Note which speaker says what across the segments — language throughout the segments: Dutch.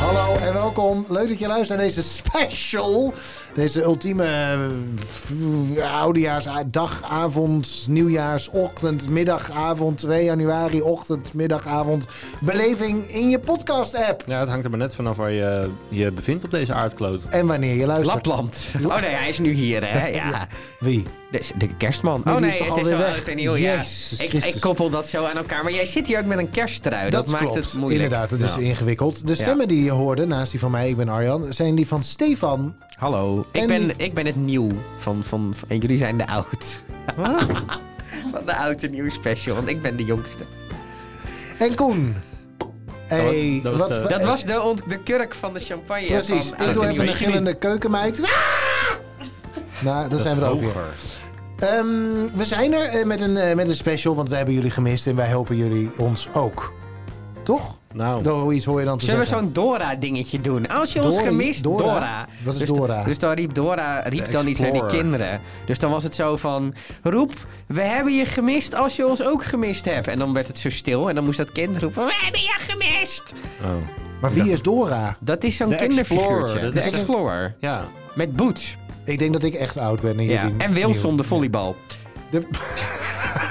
Speaker 1: Hallo en welkom. Leuk dat je luistert naar deze special. Deze ultieme eh, oudejaars, dag, avond, nieuwjaars, ochtend, middag, avond, 2 januari, ochtend, middag, avond. Beleving in je podcast app.
Speaker 2: Ja, het hangt er maar net vanaf waar je je bevindt op deze aardkloot.
Speaker 1: En wanneer je luistert.
Speaker 3: Lapland. Oh nee, hij is nu hier, hè? Ja.
Speaker 1: Wie?
Speaker 3: Dus de kerstman.
Speaker 1: Nee,
Speaker 3: oh
Speaker 1: die
Speaker 3: nee,
Speaker 1: is toch
Speaker 3: het is
Speaker 1: alweer
Speaker 3: al
Speaker 1: weg.
Speaker 3: oud en nieuw, ja.
Speaker 1: Jezus
Speaker 3: Ik,
Speaker 1: Christus.
Speaker 3: ik koppel dat zo aan elkaar. Maar jij zit hier ook met een kersttrui. Dat, maakt
Speaker 1: klopt.
Speaker 3: het moeilijk.
Speaker 1: Inderdaad, het is
Speaker 3: Ja.
Speaker 1: ingewikkeld. De stemmen die je hoorde, naast die van mij, ik ben Arjan, zijn die van Stefan.
Speaker 3: Hallo.
Speaker 1: En
Speaker 3: Ik ben,
Speaker 1: die-
Speaker 3: ik ben het nieuw. Van, van, van- en jullie zijn de oud.
Speaker 1: Wat?
Speaker 3: Van de oud en nieuw special. Want ik ben de jongste.
Speaker 1: En Koen. Hey,
Speaker 2: dat was
Speaker 1: wat-
Speaker 2: de-
Speaker 1: wat-
Speaker 3: Dat was de, ont- de kurk van de champagne.
Speaker 1: Eh. Precies,
Speaker 3: van Ah!
Speaker 1: ik
Speaker 3: oud
Speaker 1: doe
Speaker 3: en
Speaker 1: even
Speaker 3: nieuw.
Speaker 1: een gillende keukenmeid. Nou, dan zijn we er ook weer. Ehm, we zijn er eh, met, een, eh, met een special, want wij hebben jullie gemist en wij helpen jullie ons ook. Toch?
Speaker 2: Nou,
Speaker 1: Door iets hoor je dan te
Speaker 3: Zullen we
Speaker 1: zeggen.
Speaker 3: zo'n Dora-dingetje doen? Als je ons
Speaker 1: Dory?
Speaker 3: gemist,
Speaker 1: Dora?
Speaker 3: Dora.
Speaker 1: Wat is
Speaker 3: dus d-
Speaker 1: Dora?
Speaker 3: dus dan riep Dora riep
Speaker 2: De
Speaker 3: dan iets naar die
Speaker 2: Explorer.
Speaker 3: kinderen. Dus dan was het zo van... Roep, we hebben je gemist als je ons ook gemist hebt. En dan werd het zo stil. En dan moest dat kind roepen... We hebben je gemist!
Speaker 2: oh.
Speaker 1: Maar wie is Dora?
Speaker 3: Dat is zo'n
Speaker 2: De
Speaker 3: kinderfiguurtje.
Speaker 2: Explorer, dat
Speaker 3: de
Speaker 2: is echt-
Speaker 3: Explorer.
Speaker 2: ja.
Speaker 3: Met boots.
Speaker 1: Ik denk dat ik echt oud ben. En,
Speaker 3: Ja.
Speaker 1: jullie
Speaker 3: En Wilson,
Speaker 1: nieuw.
Speaker 3: de volleybal.
Speaker 1: De-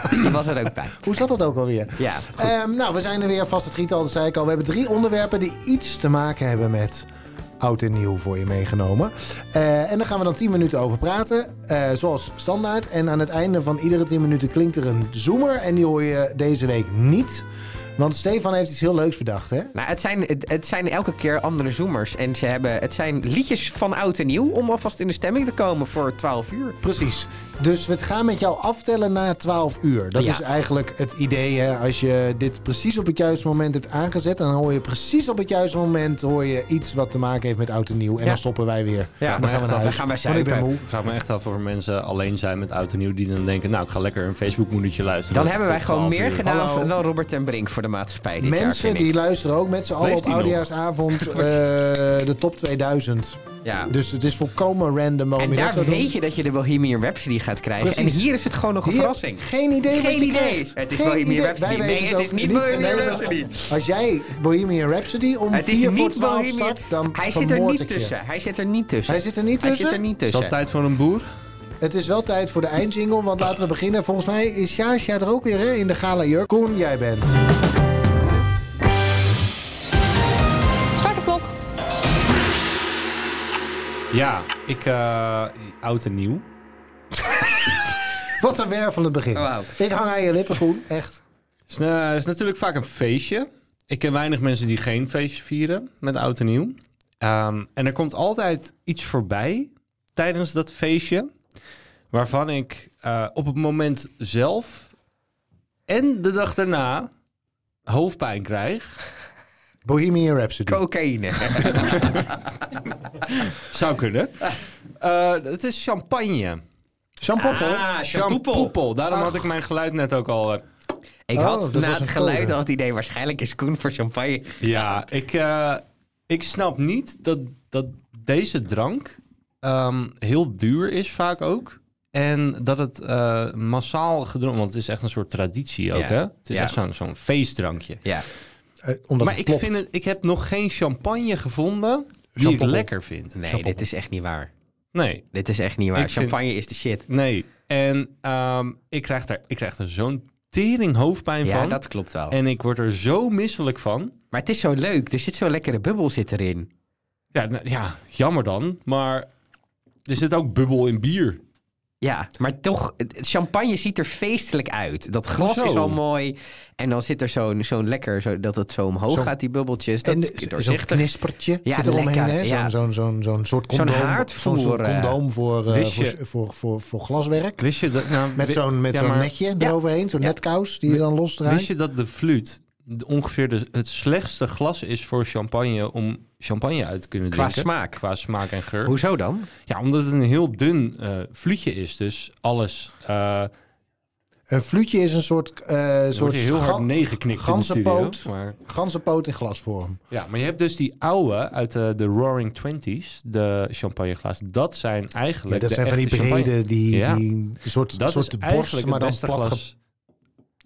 Speaker 3: Die was er ook bij.
Speaker 1: Hoe zat dat ook alweer?
Speaker 3: Ja.
Speaker 1: Ehm, nou, we zijn er weer vast. Het giet al, dat zei ik al. We hebben drie onderwerpen die iets te maken hebben met oud en nieuw voor je meegenomen. Eh, en daar gaan we dan 10 minuten over praten, eh, zoals standaard. En aan het einde van iedere 10 minuten klinkt er een zoomer. En die hoor je deze week niet. Want Stefan heeft iets heel leuks bedacht, hè?
Speaker 3: Nou, het zijn, het, het zijn elke keer andere zoomers. En ze hebben, het zijn liedjes van oud en nieuw... om alvast in de stemming te komen voor 12 uur.
Speaker 1: Precies. Dus we gaan met jou aftellen na 12 uur. Dat
Speaker 3: Ja.
Speaker 1: is eigenlijk het idee. Hè? Als je dit precies op het juiste moment hebt aangezet, dan hoor je precies op het juiste moment hoor je iets wat te maken heeft met oud en nieuw. En
Speaker 3: Ja.
Speaker 1: dan stoppen wij weer.
Speaker 3: Ja,
Speaker 1: dan
Speaker 3: maar
Speaker 1: gaan we
Speaker 3: echt,
Speaker 1: naar
Speaker 3: dan
Speaker 1: huis.
Speaker 3: gaan wij
Speaker 1: Want ik ben
Speaker 3: zuipen.
Speaker 1: moe.
Speaker 2: Ik vraag me echt af of er mensen alleen zijn met oud en nieuw die dan denken... nou, ik ga lekker een Facebook-moedertje luisteren.
Speaker 3: Dan
Speaker 2: tot-
Speaker 3: hebben wij
Speaker 2: tot
Speaker 3: gewoon
Speaker 2: 12
Speaker 3: meer
Speaker 2: uur.
Speaker 3: gedaan
Speaker 1: Hallo.
Speaker 3: dan Robert en Brink voor de maatschappij dit jaar,
Speaker 1: Mensen
Speaker 3: vind
Speaker 1: die
Speaker 3: ik.
Speaker 1: luisteren ook met z'n allen
Speaker 2: Leeft
Speaker 1: op
Speaker 2: die nog?
Speaker 1: oudejaarsavond eh, de top 2000.
Speaker 3: Ja.
Speaker 1: Dus het is volkomen random waarom
Speaker 3: En
Speaker 1: je dat
Speaker 3: daar
Speaker 1: zo
Speaker 3: weet
Speaker 1: doet.
Speaker 3: je dat je de Bohemian Rhapsody gaat krijgen.
Speaker 1: Precies.
Speaker 3: En hier is het gewoon nog een
Speaker 1: Hier-
Speaker 3: verrassing.
Speaker 1: Geen idee wat
Speaker 3: Geen
Speaker 1: je
Speaker 3: idee.
Speaker 1: krijgt.
Speaker 3: Het is
Speaker 1: Geen
Speaker 3: Bohemian
Speaker 1: idee. Wij
Speaker 3: Rhapsody. Nee,
Speaker 1: weten
Speaker 3: het
Speaker 1: ook
Speaker 3: is niet
Speaker 1: En
Speaker 3: Bohemian
Speaker 1: wij-
Speaker 3: Rhapsody.
Speaker 1: Als jij Bohemian Rhapsody om
Speaker 3: Het is
Speaker 1: 4 voor
Speaker 3: niet
Speaker 1: 12
Speaker 3: Bohemian.
Speaker 1: start, dan
Speaker 3: Hij zit er
Speaker 1: vermoord
Speaker 3: niet
Speaker 1: ik je.
Speaker 3: tussen. Hij zit er niet tussen.
Speaker 1: Hij zit er niet
Speaker 3: Hij
Speaker 1: tussen?
Speaker 3: zit er niet
Speaker 2: Is dat
Speaker 3: tussen.
Speaker 2: tijd voor een boer?
Speaker 1: Het is wel tijd voor de eindjingle, want laten we beginnen. Volgens mij is Sjaasja er ook weer hè, in de gala jurk. Koen, jij bent.
Speaker 4: Start de klok.
Speaker 2: Ja, ik... eh, oud en nieuw.
Speaker 1: Wat een wervelend begin.
Speaker 3: Oh, Wauw.
Speaker 1: Ik hang aan je lippen, Koen. Echt.
Speaker 2: Het is, eh, is natuurlijk vaak een feestje. Ik ken weinig mensen die geen feestje vieren met oud en nieuw. Ehm, en er komt altijd iets voorbij tijdens dat feestje... waarvan ik eh, op het moment zelf en de dag daarna hoofdpijn krijg.
Speaker 1: Bohemian Rhapsody.
Speaker 3: Cocaïne.
Speaker 2: Zou kunnen. Eh, het is champagne.
Speaker 1: Champoppel.
Speaker 3: Ah.
Speaker 2: Champoepel. Daarom had ik mijn geluid net ook al... eh,
Speaker 3: Ik
Speaker 1: Oh,
Speaker 3: had
Speaker 1: dat was
Speaker 3: na
Speaker 1: een
Speaker 3: het geluid
Speaker 1: code.
Speaker 3: al het idee, waarschijnlijk is Koen voor champagne.
Speaker 2: Ja, ik, eh, ik snap niet dat, dat deze drank ehm, heel duur is vaak ook. En dat het eh, massaal gedronken... Want het is echt een soort traditie ook,
Speaker 3: Ja.
Speaker 2: hè? Het is
Speaker 3: Ja.
Speaker 2: echt zo'n zo'n feestdrankje.
Speaker 3: Ja.
Speaker 1: Eh, omdat
Speaker 2: maar
Speaker 1: het
Speaker 2: ik,
Speaker 1: klopt.
Speaker 2: vind het, ik heb nog geen champagne gevonden die ik
Speaker 1: Champoppel.
Speaker 2: lekker vind.
Speaker 3: Nee, dit is echt niet waar.
Speaker 2: Nee,
Speaker 3: Dit is echt niet waar.
Speaker 2: Ik vind-
Speaker 3: champagne is de shit.
Speaker 2: nee. En ehm, ik krijg daar, ik krijg er zo'n tering hoofdpijn
Speaker 3: Ja,
Speaker 2: van.
Speaker 3: dat klopt wel.
Speaker 2: En ik word er zo misselijk van.
Speaker 3: Maar het is zo leuk. Er zit zo'n lekkere bubbel zit erin.
Speaker 2: Ja, nou, ja, jammer dan. Maar er zit ook bubbel in bier.
Speaker 3: Ja, maar toch, het- het champagne ziet er feestelijk uit. Dat glas
Speaker 2: Hoezo?
Speaker 3: is al mooi. En dan zit er zo'n zo'n lekker, zo, dat het zo omhoog
Speaker 1: Zo'n-
Speaker 3: gaat, die bubbeltjes. Dat
Speaker 1: En
Speaker 3: is
Speaker 1: de- zo'n
Speaker 3: doorzichtig.
Speaker 1: knispertje
Speaker 3: Ja,
Speaker 1: zit er omheen,
Speaker 3: lekker,
Speaker 1: hè? Zo'n
Speaker 3: ja.
Speaker 1: zo'n zo'n zo'n soort
Speaker 3: Zo'n
Speaker 1: condoom.
Speaker 3: haard
Speaker 1: zo'n soort
Speaker 3: voor, eh,
Speaker 1: condoom voor, eh,
Speaker 2: wist
Speaker 1: voor,
Speaker 2: je-
Speaker 1: voor, voor, voor glaswerk.
Speaker 2: Wist je dat? Nou,
Speaker 1: Met
Speaker 2: wi-
Speaker 1: zo'n met
Speaker 2: ja,
Speaker 1: zo'n
Speaker 2: maar
Speaker 1: netje
Speaker 3: Ja.
Speaker 1: eroverheen. Zo'n
Speaker 3: Ja.
Speaker 1: netkous die je dan losdraait.
Speaker 2: Wist je dat de fluit de- ongeveer de, het slechtste glas is voor champagne om champagne uit te kunnen
Speaker 3: Qua
Speaker 2: drinken?
Speaker 3: smaak.
Speaker 2: Qua smaak en geur.
Speaker 3: Hoezo dan?
Speaker 2: Ja, omdat het een heel dun eh fluitje is. Dus alles. eh,
Speaker 1: Een fluitje is een soort, eh
Speaker 2: Er wordt
Speaker 1: soort
Speaker 2: hier heel hard
Speaker 1: gan-
Speaker 2: neergeknikt in de studio.
Speaker 1: ganzenpoot.
Speaker 2: Maar,
Speaker 1: ganzenpoot in glasvorm.
Speaker 2: ja, maar je hebt dus die oude uit de, de Roaring Twenties, de champagneglas. Dat zijn
Speaker 1: Ja,
Speaker 2: eigenlijk
Speaker 1: dat
Speaker 2: de
Speaker 1: zijn van die
Speaker 2: echte champagne.
Speaker 1: brede, die,
Speaker 2: Ja.
Speaker 1: die een soort,
Speaker 2: Dat
Speaker 1: soort
Speaker 2: is
Speaker 1: de borst,
Speaker 2: eigenlijk
Speaker 1: maar
Speaker 2: het
Speaker 1: dan
Speaker 2: beste
Speaker 1: plat
Speaker 2: glas.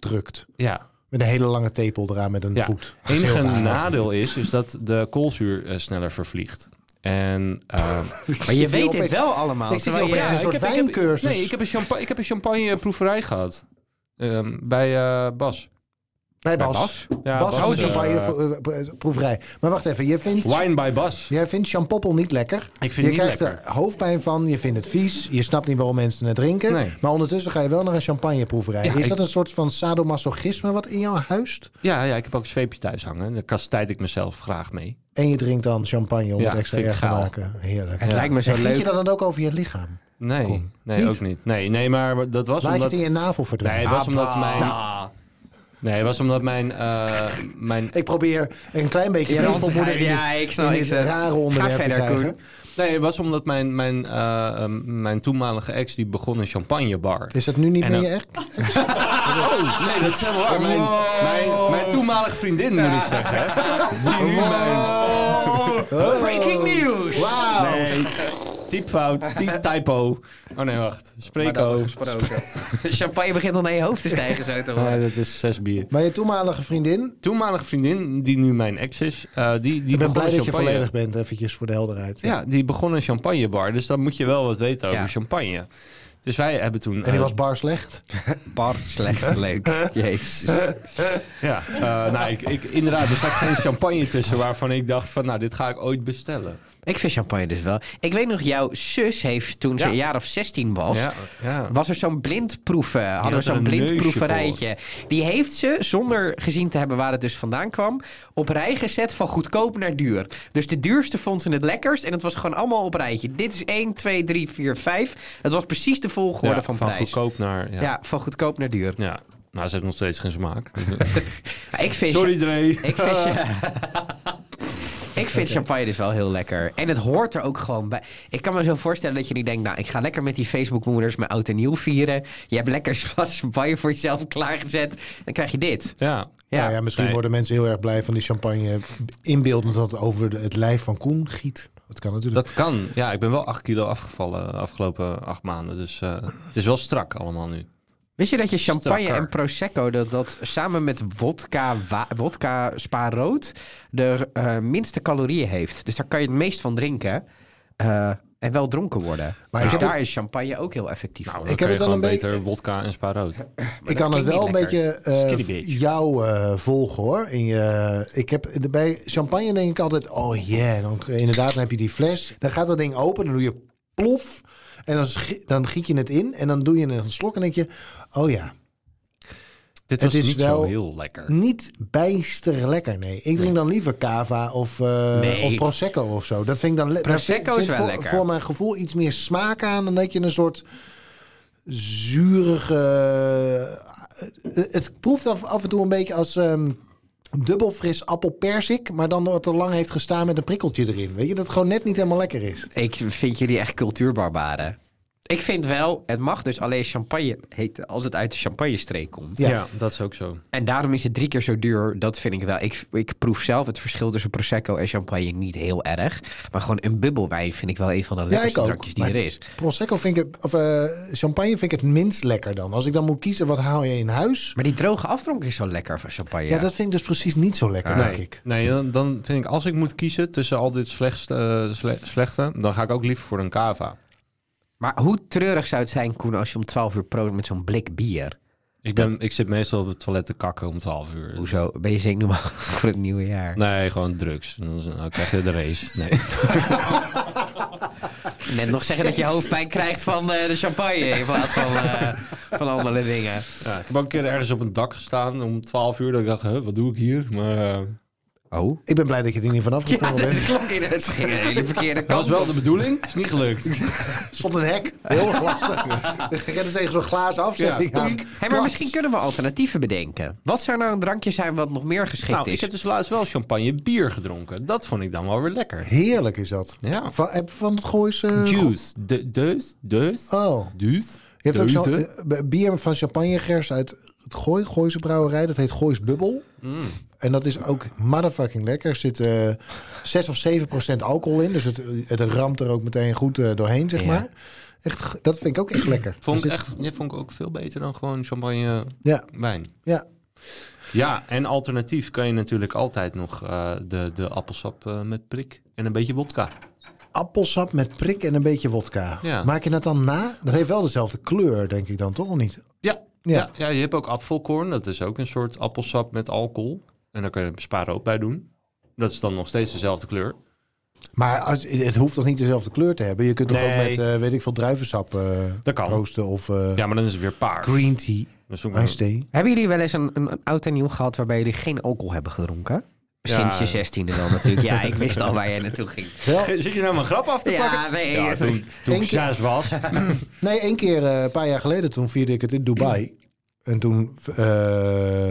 Speaker 1: gedrukt.
Speaker 2: Ja,
Speaker 1: Met een hele lange tepel eraan met een
Speaker 2: Ja.
Speaker 1: voet.
Speaker 2: het enige
Speaker 1: Heel raar.
Speaker 2: nadeel is, is dat de koolzuur eh, sneller vervliegt. En ehm,
Speaker 3: Maar je
Speaker 1: zit hier
Speaker 3: weet dit
Speaker 1: opeens-
Speaker 3: wel allemaal.
Speaker 1: Ik zit hier
Speaker 3: terwijl
Speaker 1: opeens
Speaker 3: je-
Speaker 1: een
Speaker 2: ik
Speaker 1: soort
Speaker 2: heb- ik heb-
Speaker 1: wijncursus.
Speaker 2: Nee, ik heb een, champa ik heb een champagneproeverij gehad. Ehm, bij eh, Bas.
Speaker 1: Bij Bas.
Speaker 2: Bij
Speaker 1: Bas,
Speaker 2: Ja,
Speaker 1: Bas
Speaker 2: Bas,
Speaker 1: is een
Speaker 2: eh,
Speaker 1: champagne pro- eh, pro- eh, proeverij. Maar wacht even, je vindt,
Speaker 2: Wine by Bas.
Speaker 1: jij vindt champoppel niet lekker.
Speaker 2: Ik vind
Speaker 1: je
Speaker 2: het niet
Speaker 1: krijgt
Speaker 2: lekker.
Speaker 1: er hoofdpijn van, je vindt het vies, je snapt niet waarom mensen het drinken.
Speaker 2: Nee.
Speaker 1: Maar ondertussen ga je wel naar een champagneproeverij.
Speaker 2: Ja,
Speaker 1: is
Speaker 2: ik-
Speaker 1: dat een soort van sadomasochisme wat in jou huist?
Speaker 2: eh, Ja, ja, ik heb ook een zweepje thuis hangen. Daar kastijt ik mezelf graag mee.
Speaker 1: En je drinkt dan champagne om
Speaker 2: Ja,
Speaker 1: het extra
Speaker 2: vind ik
Speaker 1: erg te
Speaker 2: gaal.
Speaker 1: maken. Heerlijk.
Speaker 3: Het
Speaker 2: Ja.
Speaker 3: lijkt me zo
Speaker 1: en vind je
Speaker 3: leuk.
Speaker 1: dat dan ook over je lichaam?
Speaker 2: Nee,
Speaker 1: Kom,
Speaker 2: nee
Speaker 1: niet?
Speaker 2: ook niet. Nee, nee maar dat was
Speaker 1: Laat je
Speaker 2: omdat...
Speaker 1: het in je navel verdwijnen?
Speaker 2: Nee, het was omdat mijn...
Speaker 3: Nou.
Speaker 2: Nee, het was omdat mijn... eh, mijn
Speaker 1: Ik probeer een klein beetje
Speaker 3: Ja,
Speaker 1: Facebookmoeder in dit,
Speaker 3: ja, ik snap,
Speaker 1: in
Speaker 3: ik
Speaker 1: dit
Speaker 3: snap.
Speaker 1: rare
Speaker 3: Ga
Speaker 1: onderwerp
Speaker 3: verder,
Speaker 1: te krijgen.
Speaker 3: Koen.
Speaker 2: nee, het was omdat mijn, mijn, eh, eh, mijn toenmalige ex die begon een champagnebar.
Speaker 1: Is dat nu niet
Speaker 2: En
Speaker 1: meer
Speaker 2: dan-
Speaker 1: je echt?
Speaker 2: Oh, nee, dat is helemaal waar. Mijn, mijn, mijn toenmalige vriendin, moet ik zeggen. Die nu mijn...
Speaker 3: Breaking news!
Speaker 1: Wauw!
Speaker 2: Nee, typfout, typ typo. Oh nee, wacht. Spreeko.
Speaker 3: Champagne begint al naar je hoofd te stijgen zo te
Speaker 2: Nee,
Speaker 3: worden.
Speaker 2: Ah, dat is zes bier.
Speaker 1: Maar je toenmalige vriendin,
Speaker 2: Toenmalige vriendin, die nu mijn ex is, eh, die, die
Speaker 1: ik ben
Speaker 2: begon
Speaker 1: blij
Speaker 2: een
Speaker 1: dat je
Speaker 2: champagne.
Speaker 1: volledig bent, eventjes voor de helderheid.
Speaker 2: ja, die begon een champagnebar. Dus dan moet je wel wat weten over
Speaker 3: Ja.
Speaker 2: champagne. Dus wij hebben toen...
Speaker 1: En die
Speaker 2: eh,
Speaker 1: was bar slecht.
Speaker 3: Bar slecht leuk. Jezus.
Speaker 2: Ja, eh, nou, ik, ik, inderdaad, er zat geen champagne tussen waarvan ik dacht van, nou, dit ga ik ooit bestellen.
Speaker 3: Ik vind champagne dus wel. Ik weet nog, jouw zus heeft toen ze
Speaker 2: Ja.
Speaker 3: een jaar of 16 was.
Speaker 2: Ja, ja.
Speaker 3: Was er zo'n blindproeven? Hadden
Speaker 2: had
Speaker 3: we
Speaker 2: er
Speaker 3: zo'n
Speaker 2: een
Speaker 3: blindproeverijtje? Die heeft ze, zonder gezien te hebben waar het dus vandaan kwam, op rij gezet van goedkoop naar duur. Dus de duurste vond ze het lekkerst en het was gewoon allemaal op rijtje. Dit is 1, 2, 3, 4, 5. Het was precies de volgorde
Speaker 2: Ja,
Speaker 3: van,
Speaker 2: van
Speaker 3: prijs.
Speaker 2: goedkoop naar... Ja.
Speaker 3: Ja.
Speaker 2: ja.
Speaker 3: van goedkoop naar duur.
Speaker 2: Nou, ze heeft nog steeds geen smaak.
Speaker 3: Maar ik vind
Speaker 2: Sorry, Dre.
Speaker 3: Ik vind, je- ik vind champagne dus wel heel lekker. En het hoort er ook gewoon bij. Ik kan me zo voorstellen dat je nu denkt... nou, ik ga lekker met die Facebookmoeders mijn oud en nieuw vieren. Je hebt lekker een glas champagne voor jezelf klaargezet. Dan krijg je dit.
Speaker 2: Ja.
Speaker 3: Ja.
Speaker 1: Nou ja, misschien
Speaker 2: Nee.
Speaker 1: worden mensen heel erg blij van die champagne. Inbeeldend dat het over de- het lijf van Koen giet. Dat kan natuurlijk.
Speaker 2: Dat kan. Ja, ik ben wel 8 kilo afgevallen de afgelopen acht maanden. Dus eh, het is wel strak allemaal nu.
Speaker 3: Wist je dat je champagne
Speaker 2: Strakker.
Speaker 3: en prosecco... dat dat samen met wodka, wa- wodka spa rood... de eh, minste calorieën heeft. Dus daar kan je het meest van drinken... eh, en wel dronken worden.
Speaker 1: Maar
Speaker 3: dus
Speaker 1: ik heb
Speaker 3: daar is champagne ook heel effectief voor.
Speaker 2: ik
Speaker 1: heb het
Speaker 2: heb het
Speaker 1: wel
Speaker 2: gewoon
Speaker 1: een beetje-
Speaker 2: beter wodka en spa rood.
Speaker 1: ik kan het
Speaker 3: klinkt
Speaker 1: wel een
Speaker 3: niet
Speaker 1: beetje eh,
Speaker 2: Skinny bitch.
Speaker 1: jou eh, volgen hoor. In je, ik heb, bij champagne denk ik altijd, oh yeah. Dan, inderdaad, dan heb je die fles. Dan gaat dat ding open, dan doe je plof. En dan, schi- dan giet je het in en dan doe je een slok en denk je, oh ja.
Speaker 2: Dit
Speaker 1: Het
Speaker 2: was
Speaker 1: is
Speaker 2: niet
Speaker 1: wel-
Speaker 2: zo heel lekker.
Speaker 1: Niet bijster lekker, nee. Ik drink dan liever cava of, eh,
Speaker 3: Nee.
Speaker 1: of prosecco of zo. Dat vind ik dan le- daar
Speaker 3: Prosecco
Speaker 1: zit-
Speaker 3: is
Speaker 1: zit
Speaker 3: wel
Speaker 1: voor,
Speaker 3: lekker.
Speaker 1: voor mijn gevoel iets meer smaak aan dan dat je een soort zurige. eh, Het proeft af, af en toe een beetje als ehm dubbel fris appelperzik, maar dan wat er lang heeft gestaan met een prikkeltje erin. Weet je dat het gewoon net niet helemaal lekker is.
Speaker 3: Ik vind jullie echt cultuurbarbaren. Ik vind wel, het mag dus alleen champagne heten als het uit de champagnestreek komt.
Speaker 1: Ja.
Speaker 2: Ja. dat is ook zo.
Speaker 3: En daarom is het drie keer zo duur, dat vind ik wel. Ik, ik proef zelf het verschil tussen prosecco en champagne niet heel erg. Maar gewoon een bubbelwijn vind ik wel een van de lekkerste
Speaker 1: ik ook,
Speaker 3: drankjes die
Speaker 1: maar-
Speaker 3: er is.
Speaker 1: Prosecco vind ik het, of eh, champagne vind ik het minst lekker dan. Als ik dan moet kiezen, wat haal je in huis?
Speaker 3: Maar die droge afdronk is zo lekker van champagne.
Speaker 1: Ja, dat vind ik dus precies niet zo lekker, denk
Speaker 2: Nee,
Speaker 1: ik.
Speaker 2: nee dan, dan vind ik als ik moet kiezen tussen al dit slechtste, eh, sle- slechte, dan ga ik ook liever voor een cava.
Speaker 3: Maar hoe treurig zou het zijn, Koen, als je om 12 uur pro met zo'n blik bier?
Speaker 2: Ik, ben, ik zit meestal op het toilet te kakken om 12 uur. Dus-
Speaker 3: Hoezo? Ben je zeker normaal voor het nieuwe jaar?
Speaker 2: Nee, gewoon drugs. En Dan is- dan krijg je de race. Nee.
Speaker 3: Net nog zeggen dat je hoofdpijn krijgt van eh, de champagne in plaats van, eh, van andere dingen.
Speaker 2: Ja, ik heb ook een keer ergens op een dak gestaan om 12 uur. Dat ik dacht, huh, wat doe ik hier? Maar eh,
Speaker 3: Oh?
Speaker 1: Ik ben blij dat je er niet vanaf
Speaker 3: Ja,
Speaker 1: gekomen
Speaker 3: de
Speaker 1: bent.
Speaker 3: klok in het ging de hele verkeerde
Speaker 2: dat was
Speaker 3: kant
Speaker 2: wel
Speaker 3: op.
Speaker 2: de bedoeling. Is niet gelukt.
Speaker 1: Stond een hek. Heel erg lastig. Ik heb er tegen zo'n glazen afzetting
Speaker 2: Ja,
Speaker 1: aan.
Speaker 3: Hey, maar
Speaker 1: Klats.
Speaker 3: misschien kunnen we alternatieven bedenken. Wat zou nou een drankje zijn wat nog meer geschikt
Speaker 2: Nou,
Speaker 3: is?
Speaker 2: ik heb dus laatst wel champagne bier gedronken. Dat vond ik dan wel weer lekker.
Speaker 1: Heerlijk is dat.
Speaker 2: Ja. Ehm,
Speaker 1: Van, heb je van het Gooise...
Speaker 2: Juice. De, deus, deus,
Speaker 1: Oh.
Speaker 2: deus.
Speaker 1: Je hebt ook zo'n
Speaker 2: Deuten.
Speaker 1: eh, b- bier van champagnegers uit het Gooi, Gooise brouwerij. Dat heet Goois Bubbel.
Speaker 2: Mm.
Speaker 1: En dat is ook motherfucking lekker. Er zit eh 6 of 7 procent alcohol in. Dus het, het ramt er ook meteen goed eh, doorheen, zeg
Speaker 3: Ja.
Speaker 1: maar. Echt, g- dat vind ik ook echt lekker.
Speaker 2: Vond ik,
Speaker 1: Er zit-
Speaker 2: echt, ja, vond ik ook veel beter dan gewoon champagne eh,
Speaker 1: Ja,
Speaker 2: wijn.
Speaker 1: ja.
Speaker 2: Ja, en alternatief kan je natuurlijk altijd nog eh, de, de appelsap eh, met prik en een beetje wodka.
Speaker 1: Appelsap met prik en een beetje wodka.
Speaker 2: Ja.
Speaker 1: Maak je dat dan na? Dat heeft wel dezelfde kleur, denk ik dan, toch? Of niet?
Speaker 2: Ja,
Speaker 1: Ja.
Speaker 2: ja. ja, je hebt ook apfelkorn. Dat is ook een soort appelsap met alcohol. En daar kun je sparen ook bij doen. Dat is dan nog steeds dezelfde kleur.
Speaker 1: Maar als, het hoeft toch niet dezelfde kleur te hebben? Je kunt toch ook
Speaker 2: Nee.
Speaker 1: met, eh, weet ik veel, druivensap eh
Speaker 2: Dat kan.
Speaker 1: roosten of eh,
Speaker 2: Ja, maar dan is het weer paars.
Speaker 1: green tea,
Speaker 2: Dus ook
Speaker 1: iced tea.
Speaker 3: Hebben jullie wel eens een, een, een oud en nieuw gehad waarbij jullie geen alcohol hebben gedronken? Sinds
Speaker 2: Ja.
Speaker 3: je zestiende dan natuurlijk. Ja, ik wist al waar jij naartoe ging.
Speaker 1: Wel,
Speaker 2: Ge- Zit je nou mijn grap af te
Speaker 3: Ja,
Speaker 2: pakken?
Speaker 3: nee.
Speaker 2: Ja, toen, toen
Speaker 1: Eén
Speaker 2: ik
Speaker 1: keer-
Speaker 2: zes was.
Speaker 1: Nee, één keer, eh, een paar jaar geleden, toen vierde ik het in Dubai. En toen, eh,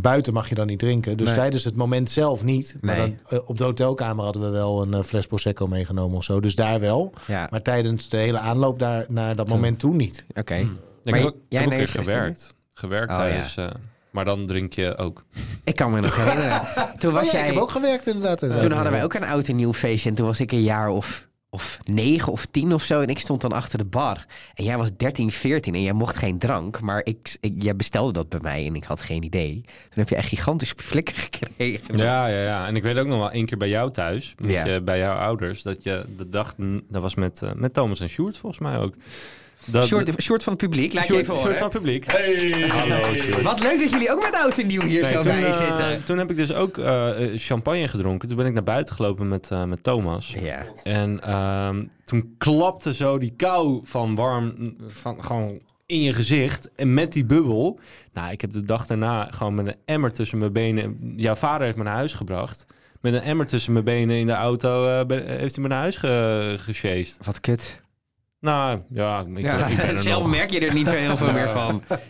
Speaker 1: buiten mag je dan niet drinken. Dus
Speaker 3: Nee.
Speaker 1: tijdens het moment zelf niet. Maar
Speaker 3: Nee.
Speaker 1: dan, eh, op de hotelkamer hadden we wel een eh, fles Prosecco meegenomen of zo. Dus daar wel.
Speaker 3: Ja,
Speaker 1: Maar tijdens de hele aanloop daar, naar dat moment toen niet.
Speaker 3: oké.
Speaker 2: Ik
Speaker 3: Maar
Speaker 2: heb
Speaker 3: j-
Speaker 2: ook, ik
Speaker 3: jij
Speaker 2: heb ook
Speaker 3: nee,
Speaker 2: een
Speaker 3: is
Speaker 2: keer
Speaker 3: het
Speaker 2: gewerkt. Gewerkt
Speaker 3: Oh, ja.
Speaker 2: tijdens... eh, maar dan drink je ook.
Speaker 3: Ik kan me nog herinneren. Toen was
Speaker 1: Oh ja,
Speaker 3: jij...
Speaker 1: Ik heb ook gewerkt inderdaad.
Speaker 3: Toen hadden wij ook een oud en nieuw feestje. En toen was ik een jaar of, of negen of tien of zo. En ik stond dan achter de bar. En jij was 13, 14 en jij mocht geen drank. Maar ik, ik- jij bestelde dat bij mij en ik had geen idee. Toen heb je echt gigantische flikken gekregen.
Speaker 2: Ja, ja, ja. En ik weet ook nog wel één keer bij jou thuis, met
Speaker 3: Ja.
Speaker 2: je- bij jouw ouders, dat je de dag, dat was met, eh, met Thomas en Sjoerd volgens mij ook. Dat,
Speaker 3: Short, short van het publiek, laat
Speaker 2: Sjoerd-
Speaker 3: je even
Speaker 2: Sjoerd
Speaker 3: horen.
Speaker 2: van het publiek. Hey! Hallo Sjoerd.
Speaker 3: Wat leuk dat jullie ook met oud en nieuw hier
Speaker 2: Nee,
Speaker 3: zo
Speaker 2: toen,
Speaker 3: bij
Speaker 2: eh,
Speaker 3: zitten.
Speaker 2: toen heb ik dus ook eh, eh, champagne gedronken. Toen ben ik naar buiten gelopen met, eh, met Thomas.
Speaker 3: Ja.
Speaker 2: En ehm, toen klapte zo die kou van warm, van gewoon in je gezicht. En met die bubbel. Nou, ik heb de dag daarna gewoon met een emmer tussen mijn benen. Jouw vader heeft me naar huis gebracht. Met een emmer tussen mijn benen in de auto eh, ben- heeft hij me naar huis ge gesjeest.
Speaker 3: Wat kut.
Speaker 2: Nou, ja, ik,
Speaker 3: Ja,
Speaker 2: ik ben er
Speaker 3: zelf
Speaker 2: nog.
Speaker 3: merk je er niet zo heel veel meer van.
Speaker 2: Maar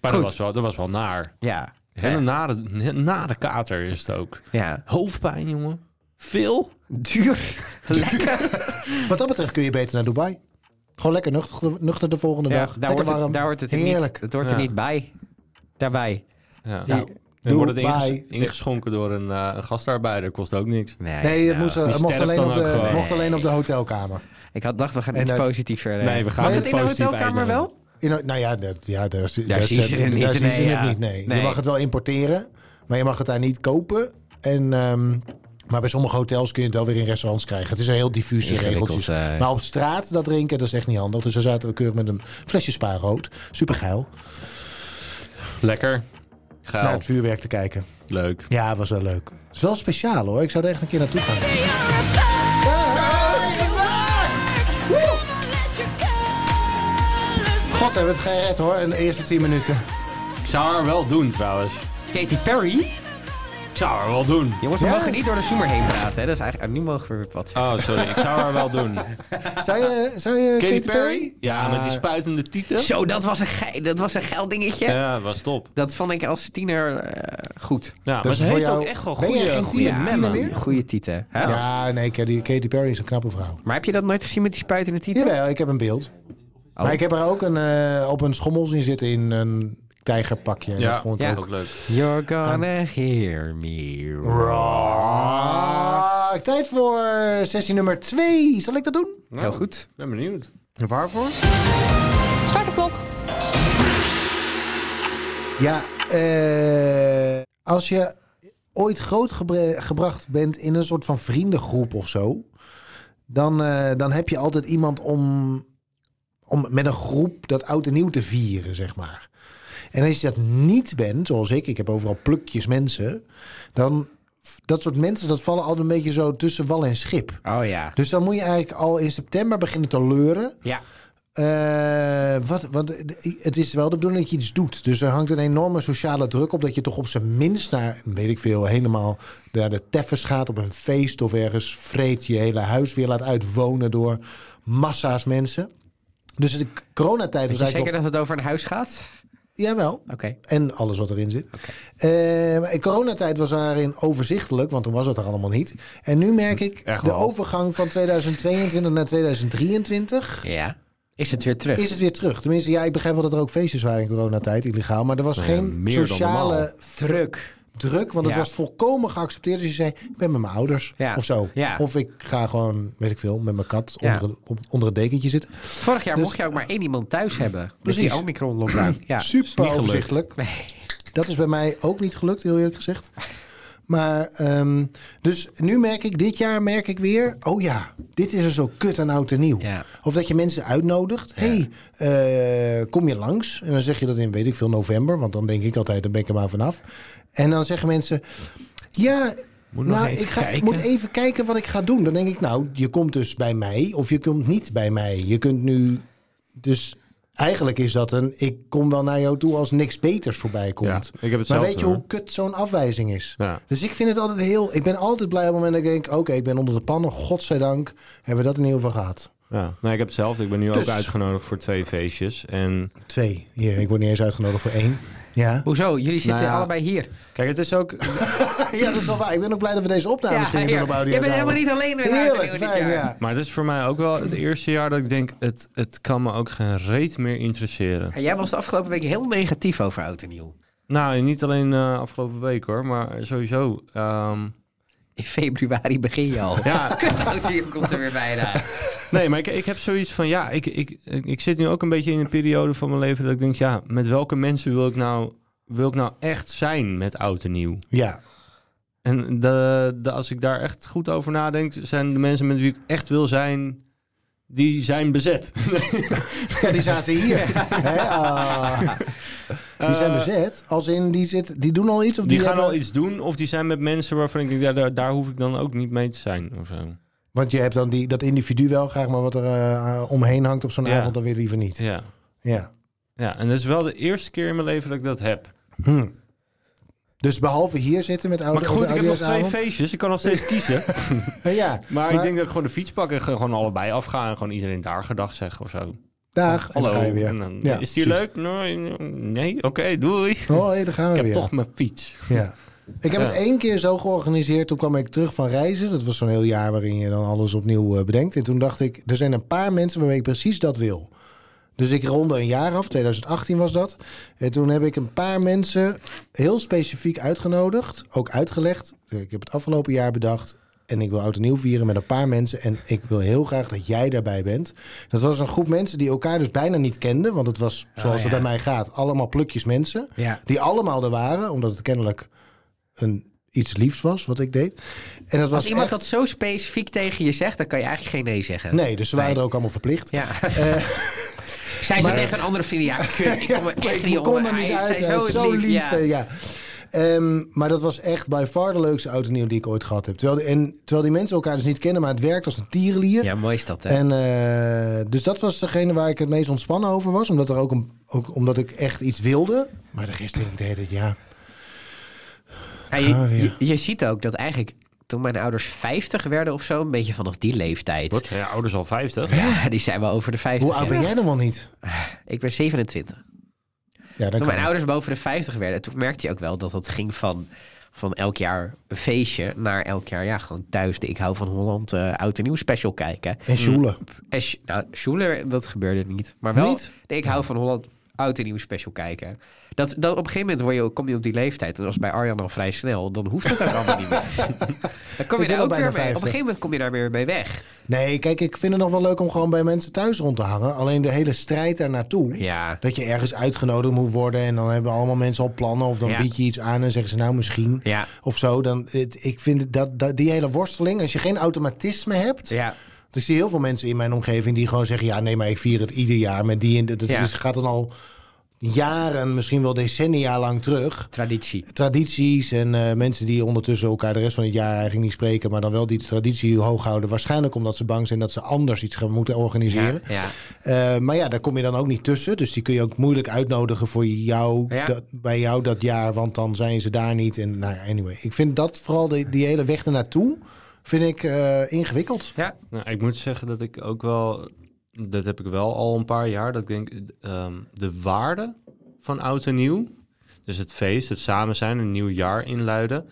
Speaker 2: dat
Speaker 3: Goed.
Speaker 2: was, wel, dat was wel naar.
Speaker 3: Ja.
Speaker 2: Hele nare, nare kater is het ook.
Speaker 3: Ja.
Speaker 2: Hoofdpijn, jongen. Veel.
Speaker 3: Duur. Lekker.
Speaker 1: Wat dat betreft kun je beter naar Dubai. Gewoon lekker nuchter, nuchter de volgende
Speaker 3: Ja,
Speaker 1: dag.
Speaker 3: daar,
Speaker 1: lekker
Speaker 3: hoort het,
Speaker 1: warm.
Speaker 3: daar hoort het er
Speaker 1: Heerlijk.
Speaker 3: niet. Het hoort er
Speaker 2: Ja.
Speaker 3: niet bij. Daarbij.
Speaker 2: Ja.
Speaker 1: Nou,
Speaker 2: En wordt het
Speaker 1: Dubai.
Speaker 2: inges- ingeschonken door een, eh, een gastarbeider, kost ook niks.
Speaker 1: Nee, het
Speaker 3: nou,
Speaker 1: moest, eh,
Speaker 2: die
Speaker 1: mocht,
Speaker 2: sterft
Speaker 1: alleen
Speaker 2: dan
Speaker 1: op de,
Speaker 2: ook gewoon.
Speaker 1: mocht alleen op de hotelkamer.
Speaker 3: Ik had dacht, we gaan
Speaker 1: En
Speaker 3: iets
Speaker 1: uit-
Speaker 3: positiever. eh.
Speaker 2: Nee, we gaan
Speaker 3: Mag
Speaker 2: het
Speaker 3: dat in de
Speaker 2: positief
Speaker 3: hotelkamer
Speaker 2: eindigen.
Speaker 3: wel?
Speaker 1: In, nou ja, dat- ja daar, is-
Speaker 3: Daar zie je
Speaker 1: daar
Speaker 3: het niet,
Speaker 1: zie je
Speaker 3: nee,
Speaker 1: het
Speaker 3: ja.
Speaker 1: niet, nee.
Speaker 3: Nee.
Speaker 1: Je mag het wel importeren, maar je mag het daar niet kopen. En, ehm, maar bij sommige hotels kun je het wel weer in restaurants krijgen. Het is een heel diffuse
Speaker 3: Ingewikkeld,
Speaker 1: regeltjes.
Speaker 3: eh.
Speaker 1: Maar op straat dat drinken, dat is echt niet handig. Dus daar zaten we keurig met een flesje spaarrood. Supergeil.
Speaker 2: Lekker. Geil.
Speaker 1: Naar het vuurwerk te kijken.
Speaker 2: Leuk.
Speaker 1: Ja, was wel leuk. Het is wel speciaal hoor. Ik zou er echt een keer naartoe gaan. God, hebben we het gered hoor, in de eerste 10 minuten.
Speaker 2: Ik zou haar wel doen trouwens.
Speaker 3: Katy Perry?
Speaker 2: Ik zou haar wel doen.
Speaker 3: Jongens, we
Speaker 1: Ja.
Speaker 3: mogen niet door de zoemer heen praten. Hè? Dat is eigenlijk, nu mogen we wat zeggen.
Speaker 2: Oh, sorry. Ik zou haar wel doen.
Speaker 1: Zou je, zou je
Speaker 2: Katy Perry? Ja, met die spuitende tieten.
Speaker 1: Ah.
Speaker 3: Zo, dat was een, ge- dat was een geil dingetje.
Speaker 2: Ja, was top.
Speaker 3: Dat vond ik als tiener eh, goed.
Speaker 2: Ja,
Speaker 1: is
Speaker 2: maar ze
Speaker 1: voor
Speaker 2: heeft
Speaker 1: jou-
Speaker 2: ook echt wel
Speaker 1: Ben jij geen
Speaker 2: goede, goede
Speaker 1: tiener-
Speaker 2: memmen.
Speaker 1: tiener meer?
Speaker 3: Goede titel. hè?
Speaker 1: Ja, nee, Katy, Katy Perry is een knappe vrouw.
Speaker 3: Maar heb je dat nooit gezien met die spuit in de titel?
Speaker 1: Jawel, ik heb een beeld. Maar ik heb er ook een, eh, op een schommel zien zitten in een tijgerpakje. En
Speaker 2: Ja,
Speaker 1: dat vond ik
Speaker 3: ja.
Speaker 1: ook...
Speaker 2: ook leuk.
Speaker 3: You're
Speaker 1: Ah.
Speaker 3: gonna hear me.
Speaker 1: Raar. Tijd voor sessie nummer 2. Zal ik dat doen?
Speaker 2: Nou,
Speaker 3: Heel goed.
Speaker 2: Ik ben benieuwd. En waarvoor?
Speaker 4: Start de klok.
Speaker 1: Ja, eh, als je ooit groot gebracht bent in een soort van vriendengroep of zo... dan, eh, dan heb je altijd iemand om, om met een groep dat oud en nieuw te vieren, zeg maar. En als je dat niet bent, zoals ik, ik heb overal plukjes mensen... dan dat soort mensen, dat vallen altijd een beetje zo tussen wal en schip.
Speaker 3: Oh ja.
Speaker 1: Dus dan moet je eigenlijk al in september beginnen te leuren.
Speaker 3: Ja.
Speaker 1: Eh, wat, want het is wel de bedoeling dat je iets doet. Dus er hangt een enorme sociale druk op dat je toch op zijn minst naar, weet ik veel, helemaal naar de teffers gaat op een feest of ergens vreet je hele huis weer laat uitwonen door massa's mensen. Dus de k- coronatijd was
Speaker 3: Is je
Speaker 1: eigenlijk.
Speaker 3: zeker dat het over een huis gaat?
Speaker 1: wel- Jawel.
Speaker 3: Oké.
Speaker 1: En alles wat erin zit. Eh, maar in coronatijd was daarin overzichtelijk, want toen was het er allemaal niet. En nu merk ik
Speaker 2: Echt
Speaker 1: de
Speaker 2: wel.
Speaker 1: overgang van 2022 naar 2023.
Speaker 3: Ja. Is het weer terug?
Speaker 1: Is het weer terug? Tenminste, ja, ik begrijp wel dat er ook feestjes waren in coronatijd, illegaal. Maar er was
Speaker 2: Ja,
Speaker 1: geen
Speaker 2: meer dan normaal.
Speaker 1: sociale
Speaker 3: druk?
Speaker 1: druk, want het
Speaker 3: Ja.
Speaker 1: was volkomen geaccepteerd. Dus je zei, ik ben met mijn ouders
Speaker 3: Ja.
Speaker 1: of zo.
Speaker 3: Ja.
Speaker 1: Of ik ga gewoon, weet ik veel, met mijn kat
Speaker 3: Ja.
Speaker 1: onder, een, op- onder een dekentje zitten.
Speaker 3: Vorig jaar
Speaker 1: Dus-
Speaker 3: mocht je ook maar één iemand thuis hebben. Dus
Speaker 1: Precies.
Speaker 3: die Omicron lockdown. Ja.
Speaker 1: Super
Speaker 2: gelukt.
Speaker 1: overzichtelijk.
Speaker 3: Nee.
Speaker 1: Dat is bij mij ook niet gelukt, heel eerlijk gezegd. Maar ehm, dus nu merk ik, dit jaar merk ik weer, oh ja, dit is er zo kut aan oud en nieuw.
Speaker 3: Ja.
Speaker 1: Of dat je mensen uitnodigt. Hé, hey, eh, kom je langs? En dan zeg je dat in, weet ik veel, november. Want dan denk ik altijd, dan ben ik er maar vanaf. En dan zeggen mensen, ja,
Speaker 2: Moet nog
Speaker 1: nou,
Speaker 2: even
Speaker 1: ik ga, ik
Speaker 2: kijken.
Speaker 1: moet even kijken wat ik ga doen. Dan denk ik, nou, je komt dus bij mij of je komt niet bij mij. Je kunt nu, dus eigenlijk is dat een, ik kom wel naar jou toe als niks beters voorbij komt.
Speaker 2: Ja, ik heb het
Speaker 1: maar
Speaker 2: zelf,
Speaker 1: weet je
Speaker 2: hoor.
Speaker 1: hoe kut zo'n afwijzing is?
Speaker 2: Ja.
Speaker 1: Dus ik vind het altijd heel, ik ben altijd blij op het moment dat ik denk, oké, ik ben onder de pannen. Godzijdank hebben we dat in ieder geval gehad.
Speaker 2: Ja. Nou, ik heb hetzelfde. Ik ben nu ook
Speaker 1: Dus-
Speaker 2: uitgenodigd voor twee feestjes. En
Speaker 1: Twee. Hier, ik word niet eens uitgenodigd voor één. Ja.
Speaker 3: Hoezo? Jullie zitten
Speaker 2: Nou ja.
Speaker 3: allebei hier.
Speaker 2: kijk, het is ook...
Speaker 1: ja, dat is wel waar. Ik ben ook blij dat we deze opname misschien
Speaker 3: hier.
Speaker 1: nog op audio
Speaker 3: Je bent
Speaker 1: zouden.
Speaker 3: helemaal niet alleen met
Speaker 1: Heerlijk,
Speaker 3: Oud en Nieuw dit
Speaker 1: fijn,
Speaker 3: jaar.
Speaker 1: ja.
Speaker 2: Maar het is voor mij ook wel het eerste jaar dat ik denk... het, het kan me ook geen reet meer interesseren.
Speaker 3: En Jij was de afgelopen week heel negatief over Oud en Nieuw.
Speaker 2: Nou, en niet alleen eh, afgelopen week hoor, maar sowieso... ehm,
Speaker 3: In februari begin je al.
Speaker 2: ja,
Speaker 3: Kut, Oud en Nieuw komt er weer bijna.
Speaker 2: Nee, maar ik, ik heb zoiets van, ja, ik, ik, ik, ik zit nu ook een beetje in een periode van mijn leven dat ik denk, ja, met welke mensen wil ik nou, wil ik nou echt zijn met oud en nieuw?
Speaker 1: Ja.
Speaker 2: En de, de, als ik daar echt goed over nadenk, zijn de mensen met wie ik echt wil zijn, die zijn bezet.
Speaker 1: Ja, die zaten hier. Hè, ah. die zijn bezet. Als in, die, zit, die doen al iets? Of
Speaker 2: Die,
Speaker 1: die
Speaker 2: gaan
Speaker 1: hebben-
Speaker 2: al iets doen of die zijn met mensen waarvan ik denk, ja, daar, daar hoef ik dan ook niet mee te zijn of zo.
Speaker 1: Want je hebt dan die, dat individu wel graag, maar wat er eh, omheen hangt op zo'n
Speaker 2: Ja.
Speaker 1: avond, dan weer liever niet.
Speaker 2: Ja.
Speaker 1: Ja.
Speaker 2: ja, en dat is wel de eerste keer in mijn leven dat ik dat heb.
Speaker 1: Hm. Dus behalve hier zitten met
Speaker 2: Maar
Speaker 1: ouders.
Speaker 2: goed, ik
Speaker 1: op
Speaker 2: heb
Speaker 1: de
Speaker 2: nog twee
Speaker 1: oudejaarsavond.
Speaker 2: feestjes, ik kan nog steeds kiezen.
Speaker 1: Ja,
Speaker 2: Maar, ik
Speaker 1: Maar-
Speaker 2: denk dat ik gewoon de fiets pak en ge- gewoon allebei afga en gewoon iedereen daar gedag zeggen of zo.
Speaker 1: dag. En
Speaker 2: Hallo. Mm.
Speaker 1: dan ga je weer.
Speaker 2: En dan,
Speaker 1: Ja,
Speaker 2: is die
Speaker 1: precies.
Speaker 2: leuk? Nee, nee. oké, doei. Ik
Speaker 1: Oh, hey, daar gaan we
Speaker 2: heb
Speaker 1: weer.
Speaker 2: toch mijn fiets.
Speaker 1: Ja. Ik heb
Speaker 2: Ja.
Speaker 1: het één keer zo georganiseerd. Toen kwam ik terug van reizen. Dat was zo'n heel jaar waarin je dan alles opnieuw eh, bedenkt. En toen dacht ik, er zijn een paar mensen waarmee ik precies dat wil. Dus ik ronde een jaar af, 2018 was dat. En toen heb ik een paar mensen heel specifiek uitgenodigd. Ook uitgelegd. Ik heb het afgelopen jaar bedacht. En ik wil oud en nieuw vieren met een paar mensen. En ik wil heel graag dat jij daarbij bent. Dat was een groep mensen die elkaar dus bijna niet kenden. Want het was, zoals
Speaker 3: ja.
Speaker 1: het bij mij gaat, allemaal plukjes mensen.
Speaker 3: Ja.
Speaker 1: Die allemaal er waren, omdat het kennelijk een, iets liefs was wat ik deed. En dat was
Speaker 3: Als iemand
Speaker 1: echt-
Speaker 3: dat zo specifiek tegen je zegt, dan kan je eigenlijk geen nee zeggen.
Speaker 1: Nee, dus ze waren er ook Eh, allemaal verplicht.
Speaker 3: Ja. Zij ze tegen een andere vriendin, ja, kut, ik kom er echt niet
Speaker 1: Ik kon
Speaker 3: onder.
Speaker 1: er niet
Speaker 3: Hij is-
Speaker 1: uit.
Speaker 3: hij is
Speaker 1: Hij is zo lief.
Speaker 3: ja.
Speaker 1: eh, ja. Ehm, maar dat was echt by far de leukste oud en nieuw die ik ooit gehad heb. Terwijl, die- en, terwijl die mensen elkaar dus niet kennen, maar het werkt als een tierenlier.
Speaker 3: Ja, mooi is dat, hè?
Speaker 1: En, eh, dus dat was degene waar ik het meest ontspannen over was. Omdat, er ook een, ook, omdat ik echt iets wilde. Maar de rest denk ik, deed het, ja.
Speaker 3: Ja, je,
Speaker 1: Gaan we weer.
Speaker 3: je, je ziet ook dat eigenlijk toen mijn ouders 50 werden of zo, een beetje vanaf die leeftijd.
Speaker 2: Wordt ja, ouders al 50?
Speaker 3: Ja, die zijn wel over de 50.
Speaker 1: Hoe oud ben
Speaker 3: ja.
Speaker 1: jij dan wel niet?
Speaker 3: Ik ben 27. Toen
Speaker 1: Ja, dan
Speaker 3: mijn
Speaker 1: kan het.
Speaker 3: ouders boven de 50 werden, toen merkte je ook wel dat dat ging van, van elk jaar een feestje naar elk jaar, ja, gewoon thuis de Ik hou van Holland eh, oud en nieuw special kijken.
Speaker 1: En Sjoelen.
Speaker 3: En Sch- nou, Schuler, dat gebeurde niet. Maar wel,
Speaker 1: Niet?
Speaker 3: de Ik hou van Holland oud en nieuw special kijken. Dat, dat op een gegeven moment word je, kom je op die leeftijd. En dat is bij Arjan al vrij snel. Dan hoeft het ook allemaal niet meer. Dan kom je
Speaker 1: ben
Speaker 3: daar
Speaker 1: al
Speaker 3: ook weer
Speaker 1: bijna
Speaker 3: mee.
Speaker 1: 50.
Speaker 3: Op een gegeven moment kom je daar weer mee weg.
Speaker 1: Nee, kijk, ik vind het nog wel leuk om gewoon bij mensen thuis rond te hangen. Alleen de hele strijd daar naartoe.
Speaker 3: Ja.
Speaker 1: Dat je ergens uitgenodigd moet worden en dan hebben allemaal mensen al plannen. Of dan
Speaker 3: Ja.
Speaker 1: bied je iets aan en zeggen ze nou misschien.
Speaker 3: Ja.
Speaker 1: Of zo. Dan, het, ik vind dat, dat, die hele worsteling, als je geen automatisme hebt.
Speaker 3: Ja.
Speaker 1: Want ik zie heel veel mensen in mijn omgeving die gewoon zeggen... ja, nee, maar ik vier het ieder jaar met die en dat.
Speaker 3: Ja.
Speaker 1: Dus het gaat dan al jaren, misschien wel decennia lang terug.
Speaker 3: Traditie.
Speaker 1: Tradities en eh, mensen die ondertussen elkaar de rest van het jaar eigenlijk niet spreken... maar dan wel die traditie hoog houden. Waarschijnlijk omdat ze bang zijn dat ze anders iets gaan moeten organiseren.
Speaker 3: Ja, ja.
Speaker 1: Eh, maar ja, daar kom je dan ook niet tussen. Dus die kun je ook moeilijk uitnodigen voor jou,
Speaker 3: Ja.
Speaker 1: dat- bij jou dat jaar. Want dan zijn ze daar niet. En nou, ja, anyway. Ik vind dat vooral die, die hele weg ernaartoe vind ik eh, ingewikkeld.
Speaker 3: Ja.
Speaker 2: Nou, ik moet zeggen dat ik ook wel, dat heb ik wel al een paar jaar, dat ik denk, ehm, de waarde van oud en nieuw, dus het feest, het samen zijn, een nieuw jaar inluiden,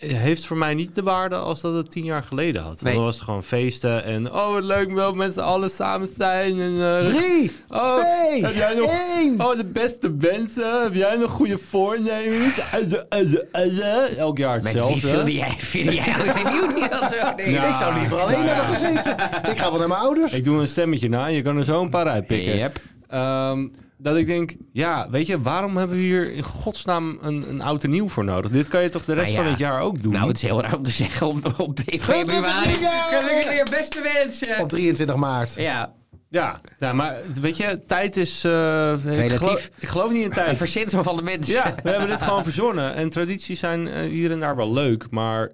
Speaker 2: heeft voor mij niet de waarde als dat het tien jaar geleden had.
Speaker 3: Nee.
Speaker 2: Want dan was het gewoon feesten en oh wat leuk wel met z'n allen samen zijn. En, eh,
Speaker 1: Drie,
Speaker 2: Oh,
Speaker 1: twee,
Speaker 2: heb jij nog-
Speaker 1: één.
Speaker 2: Oh, de beste wensen. Heb jij nog goede voornemens? Eh, de- eh, de- eh, eh. Elk jaar
Speaker 3: Met wie viel
Speaker 2: hetzelfde.
Speaker 3: jij, viel jij oud en nieuw niet al zo? Nee,
Speaker 2: Ja.
Speaker 3: ik zou liever
Speaker 1: Voor
Speaker 3: alleen
Speaker 1: alleen
Speaker 2: Nou ja.
Speaker 1: hebben gezeten. Ik ga wel naar mijn ouders.
Speaker 2: Ik doe een stemmetje na. Je kan er zo een paar uitpikken.
Speaker 3: Yep.
Speaker 2: Ehm, dat ik denk, ja, weet je, waarom hebben we hier in godsnaam een, een oud en nieuw voor nodig? Dit kan je toch de rest
Speaker 3: Nou ja.
Speaker 2: van het jaar ook doen?
Speaker 3: Nou, het is heel raar om te zeggen om, op 1
Speaker 1: Gelukkig
Speaker 3: februari.
Speaker 1: nieuwjaar!
Speaker 3: Gelukkig weer beste wensen.
Speaker 1: Op 23 maart.
Speaker 3: Ja,
Speaker 2: ja, nou, maar weet je, tijd is... eh, ik,
Speaker 3: Relatief.
Speaker 2: geloof, ik geloof niet in
Speaker 3: een
Speaker 2: tijd.
Speaker 3: verzinsel van de mens.
Speaker 2: Ja, we hebben dit gewoon verzonnen. En tradities zijn eh, hier en daar wel leuk, maar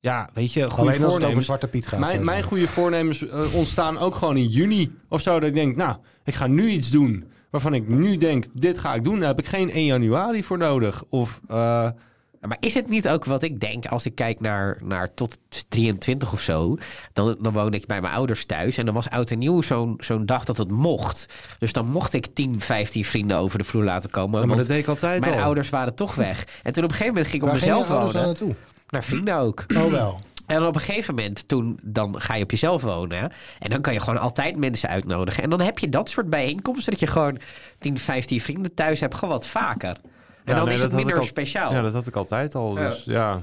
Speaker 2: ja, weet je, goede
Speaker 1: Alleen als het over
Speaker 2: voornemens.
Speaker 1: Zwarte Piet gaat. zo
Speaker 2: Mijn, mijn
Speaker 1: zeggen.
Speaker 2: goede voornemens eh, ontstaan ook gewoon in juni of zo. Dat ik denk, nou, ik ga nu iets doen waarvan ik nu denk, dit ga ik doen. Daar heb ik geen 1 januari voor nodig. Of, eh,
Speaker 3: Maar is het niet ook wat ik denk als ik kijk naar, naar tot 23 of zo? Dan, dan woonde ik bij mijn ouders thuis en dan was oud en nieuw zo'n zo'n dag dat het mocht. Dus dan mocht ik 10, 15 vrienden over de vloer laten komen.
Speaker 2: maar
Speaker 3: want
Speaker 2: dat deed ik altijd
Speaker 3: mijn
Speaker 2: al.
Speaker 3: ouders waren toch weg. En toen op een gegeven moment ging ik op
Speaker 1: Waar gaan
Speaker 3: mezelf
Speaker 1: je ouders dan
Speaker 3: wonen.
Speaker 1: naartoe?
Speaker 3: Naar vrienden ook.
Speaker 1: Oh wel.
Speaker 3: En dan op een gegeven moment, toen, dan ga je op jezelf wonen. En dan kan je gewoon altijd mensen uitnodigen. En dan heb je dat soort bijeenkomsten. Dat je gewoon 10, 15 vrienden thuis hebt. Gewoon wat vaker. En
Speaker 2: Ja,
Speaker 3: dan
Speaker 2: nee,
Speaker 3: is
Speaker 2: dat
Speaker 3: het
Speaker 2: had
Speaker 3: minder
Speaker 2: ik al-
Speaker 3: speciaal.
Speaker 2: Ja, dat had ik altijd al.
Speaker 3: Ja.
Speaker 2: Dus ja.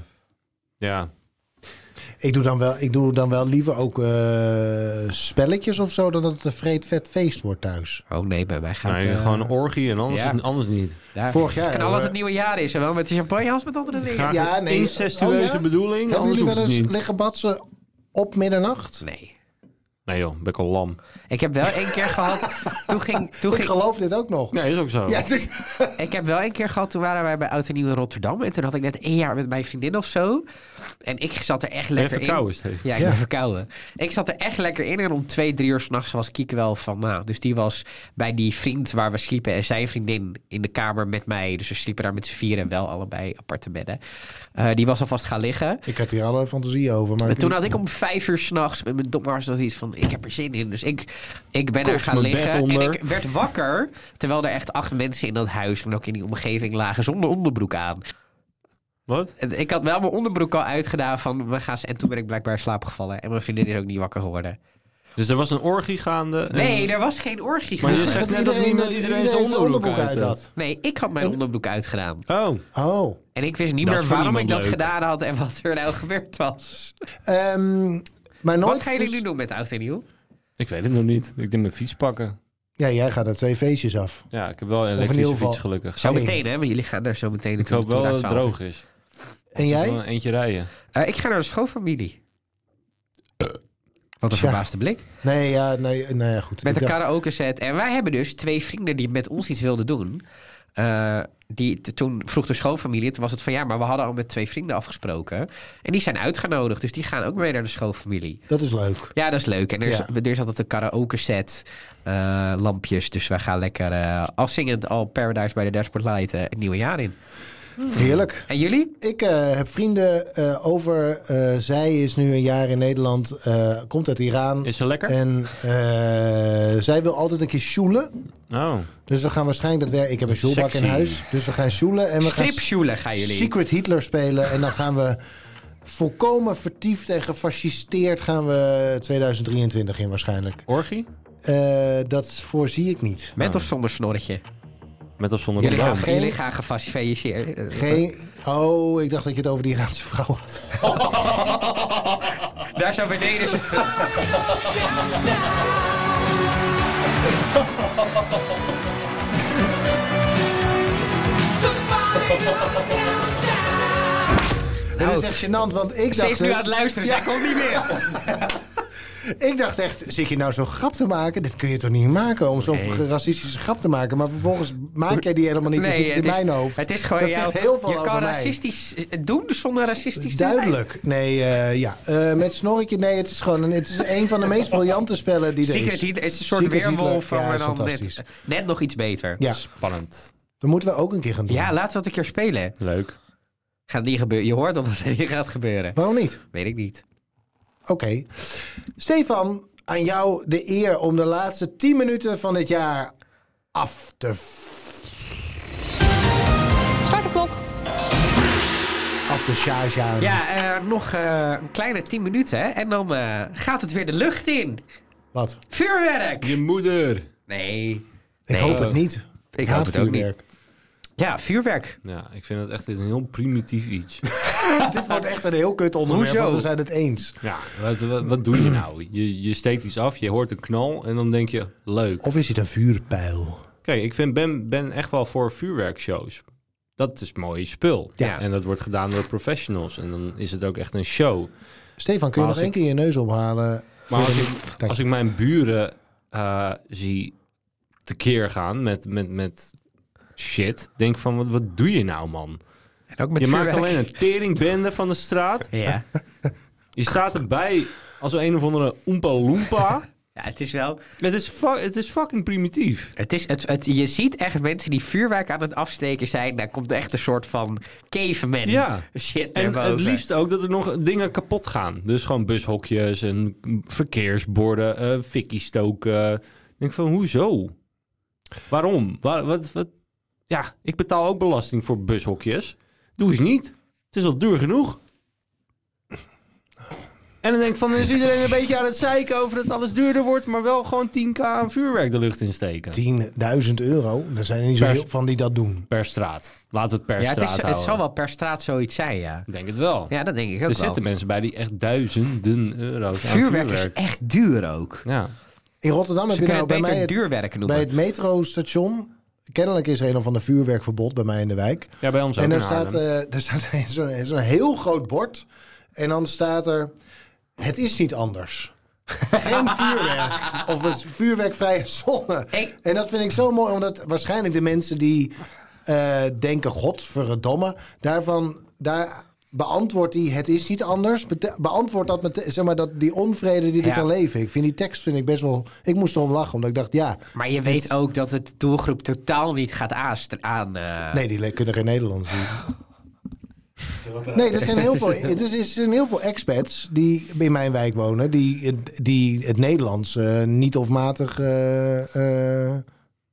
Speaker 2: Ja.
Speaker 1: Ik doe dan wel, ik doe dan wel liever ook eh, spelletjes of zo, dat het een vreed vet feest wordt thuis.
Speaker 3: Oh nee, bij mij gaat
Speaker 2: Nee,
Speaker 3: eh,
Speaker 2: gewoon een orgie en anders,
Speaker 3: ja.
Speaker 2: anders niet.
Speaker 3: daar.
Speaker 1: Vorig jaar.
Speaker 3: En al dat het nieuwe jaar is. En wel met de champagne als met andere dingen.
Speaker 2: Graag
Speaker 1: Ja,
Speaker 2: een
Speaker 1: nee.
Speaker 2: incestueuze
Speaker 1: Oh, ja?
Speaker 2: bedoeling,
Speaker 1: Hebben
Speaker 2: anders
Speaker 1: jullie
Speaker 2: hoeft
Speaker 1: wel
Speaker 2: het
Speaker 1: eens
Speaker 2: niet.
Speaker 1: liggen batsen op middernacht?
Speaker 3: Nee.
Speaker 2: Nee joh, ben ik al lam.
Speaker 3: Ik heb wel één keer gehad. Toen ging, toen
Speaker 1: Ik
Speaker 3: ging,
Speaker 1: geloof dit ook nog.
Speaker 2: Nee, is ook zo.
Speaker 1: Ja, het is-
Speaker 2: dus-
Speaker 3: ik heb wel één keer gehad. Toen waren wij bij Oud en Nieuw in Rotterdam. En toen had ik net één jaar met mijn vriendin of zo. En ik zat er echt
Speaker 2: ben je
Speaker 3: lekker in.
Speaker 2: verkouden, Steven?
Speaker 3: Ja, ik
Speaker 1: Ja.
Speaker 3: ben verkouden. Ik zat er echt lekker in en om twee, drie uur s'nachts was Kieke wel van na. Dus die was bij die vriend waar we sliepen en zijn vriendin in de kamer met mij. Dus we sliepen daar met z'n vier en wel allebei aparte bedden. Eh, die was alvast gaan liggen.
Speaker 1: Ik heb hier alle fantasie over. Maar
Speaker 3: En toen had ik om vijf uur s'nachts met mijn domme hart nog iets van... ik heb er zin in, dus ik, ik ben daar
Speaker 2: Kost
Speaker 3: gaan
Speaker 2: mijn bed
Speaker 3: liggen. En
Speaker 2: onder.
Speaker 3: ik werd wakker, terwijl er echt acht mensen in dat huis... en ook in die omgeving lagen zonder onderbroek aan.
Speaker 2: Wat?
Speaker 3: En Ik had wel mijn onderbroek al uitgedaan van... We gaan, en toen ben ik blijkbaar slaapgevallen. En mijn vriendin is ook niet wakker geworden.
Speaker 2: Dus er was een orgie gaande. en-
Speaker 3: Nee, er was geen orgie.
Speaker 2: Maar dus- je
Speaker 3: geweest.
Speaker 2: zegt net dat niemand
Speaker 1: eh,
Speaker 2: iedereen zijn onderbroek uit had.
Speaker 3: Nee, ik had mijn onderbroek uitgedaan.
Speaker 2: Oh.
Speaker 1: Oh.
Speaker 3: En ik wist niet
Speaker 2: Dat
Speaker 3: meer
Speaker 2: vond
Speaker 3: waarom ik
Speaker 2: niemand
Speaker 3: dat
Speaker 2: leuk.
Speaker 3: gedaan had en wat er nou gebeurd was.
Speaker 1: Ehm, maar nooit.
Speaker 3: wat gaan jullie
Speaker 1: dus-
Speaker 3: nu doen met Oud en Nieuw?
Speaker 2: Ik weet het nog niet. Ik denk mijn fiets pakken.
Speaker 1: Ja, jij gaat er twee feestjes af.
Speaker 2: Ja, ik heb wel een
Speaker 1: in
Speaker 2: elektrische
Speaker 1: ieder
Speaker 2: fiets
Speaker 1: geval-
Speaker 2: gelukkig.
Speaker 3: Zo
Speaker 1: Nee.
Speaker 3: meteen, hè? Want jullie gaan daar zo meteen
Speaker 2: Ik hoop
Speaker 3: natuurlijk
Speaker 2: wel dat
Speaker 3: naartoe
Speaker 2: het
Speaker 3: na 12
Speaker 2: droog is.
Speaker 1: En
Speaker 2: Wel
Speaker 1: jij?
Speaker 2: eentje rijden.
Speaker 3: uur. Eh, ik ga naar de schoonfamilie. Wat een
Speaker 1: Tja.
Speaker 3: verbaasde blik.
Speaker 1: Nee, ja, nee, nou ja, goed.
Speaker 3: Met
Speaker 1: Ik
Speaker 3: een
Speaker 1: dacht-
Speaker 3: karaoke set. En wij hebben dus twee vrienden die met ons iets wilden doen. Eh, die t- toen vroeg de schoonfamilie, toen was het van ja, maar we hadden al met twee vrienden afgesproken. En die zijn uitgenodigd, dus die gaan ook mee naar de schoonfamilie.
Speaker 1: Dat is leuk.
Speaker 3: Ja, dat is leuk. En er is,
Speaker 1: Ja.
Speaker 3: er is altijd een karaoke set, eh, lampjes. Dus wij gaan lekker eh al zingend al Paradise by the Dashboard Light eh, het nieuwe jaar in.
Speaker 1: Heerlijk.
Speaker 3: En jullie?
Speaker 1: Ik eh, heb vrienden eh, over. eh, zij is nu een jaar in Nederland, eh, komt uit Iran.
Speaker 2: Is ze lekker?
Speaker 1: En eh, zij wil altijd een keer sjoelen.
Speaker 2: Oh.
Speaker 1: Dus we gaan waarschijnlijk dat we. Ik heb een sjoelbak in
Speaker 2: Sexy.
Speaker 1: huis. Dus we gaan sjoelen. En we gaan
Speaker 3: Stripsjoelen gaan jullie.
Speaker 1: Secret Hitler spelen. En dan gaan we volkomen vertiefd en gefascisteerd gaan we 2023 in waarschijnlijk.
Speaker 2: Orgie?
Speaker 1: Eh, dat voorzie ik niet.
Speaker 3: Met of zonder snorretje?
Speaker 2: Met of zonder
Speaker 1: Jullie
Speaker 3: Jullie gaan,
Speaker 2: condoom?
Speaker 1: gaan- geen-
Speaker 3: jullie gaan gefascineerd. eh,
Speaker 1: Geen. Oh, ik dacht dat je het over die Iraanse vrouw had.
Speaker 3: Daar zo beneden zit.
Speaker 1: Dat is echt gênant, want ik
Speaker 3: Nou, Ze
Speaker 1: dacht.
Speaker 3: is nu
Speaker 1: dus-
Speaker 3: aan het luisteren, zij komt niet meer.
Speaker 1: Ik dacht echt, zit je nou zo'n grap te maken? Dit kun je toch niet maken om zo'n racistische grap te maken. Maar vervolgens maak jij die helemaal niet. en zit het in
Speaker 3: het is,
Speaker 1: mijn hoofd.
Speaker 3: Het is gewoon
Speaker 1: dat
Speaker 3: jouw-
Speaker 1: zegt heel veel
Speaker 3: Je
Speaker 1: over
Speaker 3: kan
Speaker 1: mij.
Speaker 3: racistisch eh, doen zonder racistisch te zijn.
Speaker 1: Duidelijk. Nee, eh, ja. Eh, met snorretje, nee, het is gewoon een, het is een van de meest briljante spellen die er
Speaker 3: Secret
Speaker 1: is.
Speaker 3: Hitler is een soort
Speaker 1: Secret
Speaker 3: weerwolf
Speaker 1: Hitler, ja,
Speaker 3: maar
Speaker 1: is
Speaker 3: dan
Speaker 1: fantastisch.
Speaker 3: net, net nog iets beter. Dus-
Speaker 1: Ja,
Speaker 2: Spannend.
Speaker 1: dat moeten we ook een keer gaan doen.
Speaker 3: Ja, laten we het een keer spelen.
Speaker 2: Leuk.
Speaker 3: Gaat niet gebeuren. Je hoort dat het niet gaat gebeuren.
Speaker 1: Waarom niet?
Speaker 3: Weet ik niet.
Speaker 1: Oké. Stefan, aan jou de eer om de laatste 10 minuten van dit jaar af te
Speaker 4: Start de klok.
Speaker 1: af Of de Shaja.
Speaker 3: Ja, eh, nog eh, een kleine 10 minuten en dan eh, gaat het weer de lucht in.
Speaker 1: Wat?
Speaker 3: Vuurwerk!
Speaker 2: Je moeder.
Speaker 3: Nee.
Speaker 1: Ik
Speaker 3: Nee.
Speaker 1: hoop het niet.
Speaker 3: Ik
Speaker 1: haat
Speaker 3: hoop het ook niet.
Speaker 1: vuurwerk.
Speaker 3: Ja, vuurwerk.
Speaker 2: Ja, ik vind dat echt een heel primitief iets.
Speaker 1: Dit wordt echt een heel kut onderwerp,
Speaker 3: Hoezo?
Speaker 1: want we zijn het eens.
Speaker 2: Ja, wat, wat, wat doe je nou? Je, je steekt iets af, je hoort een knal en dan denk je, leuk.
Speaker 1: Of is het een vuurpijl?
Speaker 2: Kijk, ik vind, ben, ben echt wel voor vuurwerkshows. Dat is mooi spul.
Speaker 3: Ja.
Speaker 2: En dat wordt gedaan door professionals. En dan is het ook echt een show.
Speaker 1: Stefan, kun je nog
Speaker 2: Maar als
Speaker 1: één keer je neus ophalen?
Speaker 2: Maar als
Speaker 1: Voordat
Speaker 2: ik,
Speaker 1: Dank
Speaker 2: als ik mijn buren eh, zie tekeer gaan met, met, met shit, denk van, wat, wat doe je nou, man?
Speaker 3: En ook met
Speaker 2: je
Speaker 3: vuurwerk.
Speaker 2: maakt alleen een teringbende van de straat.
Speaker 3: Ja.
Speaker 2: Je staat erbij als een of andere Oompa Loompa.
Speaker 3: ja, het is wel...
Speaker 2: het, is fu- het is fucking primitief.
Speaker 3: Het is, het, het, je ziet echt mensen die vuurwerk aan het afsteken zijn. Daar komt echt een soort van caveman
Speaker 2: Ja.
Speaker 3: shit naar
Speaker 2: En
Speaker 3: boven.
Speaker 2: het liefst ook dat er nog dingen kapot gaan. Dus gewoon bushokjes en verkeersborden, eh fikkie stoken. Ik denk van, hoezo? Waarom? Waar, wat, wat? Ja, ik betaal ook belasting voor bushokjes. Doe eens niet. Het is al duur genoeg. En dan denk ik van, dan is iedereen een beetje aan het zeiken over dat alles duurder wordt, maar wel gewoon 10k aan vuurwerk de lucht insteken.
Speaker 1: je 10.000 euro, er zijn er niet zo
Speaker 2: Pers-
Speaker 1: heel van die dat doen.
Speaker 2: Per straat. Laten we het per
Speaker 3: ja, het,
Speaker 2: straat
Speaker 3: is, het
Speaker 2: houden.
Speaker 3: zal wel per straat zoiets zijn, ja.
Speaker 2: Ik denk het wel.
Speaker 3: Ja, dat denk ik ook
Speaker 2: er
Speaker 3: wel.
Speaker 2: zitten mensen bij die echt duizenden euro's
Speaker 3: vuurwerk,
Speaker 2: aan vuurwerk.
Speaker 3: is echt duur ook.
Speaker 2: Ja.
Speaker 1: In Rotterdam
Speaker 3: Ze
Speaker 1: heb je nou
Speaker 3: kunnen het
Speaker 1: bij
Speaker 3: beter
Speaker 1: mij het,
Speaker 3: duurwerk noemen.
Speaker 1: bij het metrostation... Kennelijk is er een of ander vuurwerkverbod bij mij in de wijk.
Speaker 2: ja, bij ons ook.
Speaker 1: en
Speaker 2: in
Speaker 1: er staat,
Speaker 2: Haarlem.
Speaker 1: eh, er staat zo'n zo'n heel groot bord. En dan staat er... Het is niet anders. Geen vuurwerk. Of het is vuurwerkvrije zone.
Speaker 3: Ik-
Speaker 1: En dat vind ik zo mooi, omdat waarschijnlijk de mensen die eh denken... Godverdomme, daarvan... Daar, Beantwoord die het is niet anders. bete- Beantwoord dat met zeg maar, dat, die onvrede die er
Speaker 3: Ja.
Speaker 1: kan leven. Ik vind die tekst vind ik best wel. Ik moest erom lachen, omdat ik dacht, ja.
Speaker 3: Maar je weet ook dat het doelgroep totaal niet gaat aanstra- aan... eh,
Speaker 1: Nee, die le- kunnen geen Nederlands. Die... Nee, er zijn heel veel, er is- er zijn heel veel expats die in mijn wijk wonen, die, het- die het Nederlands eh, niet of matig eh, eh,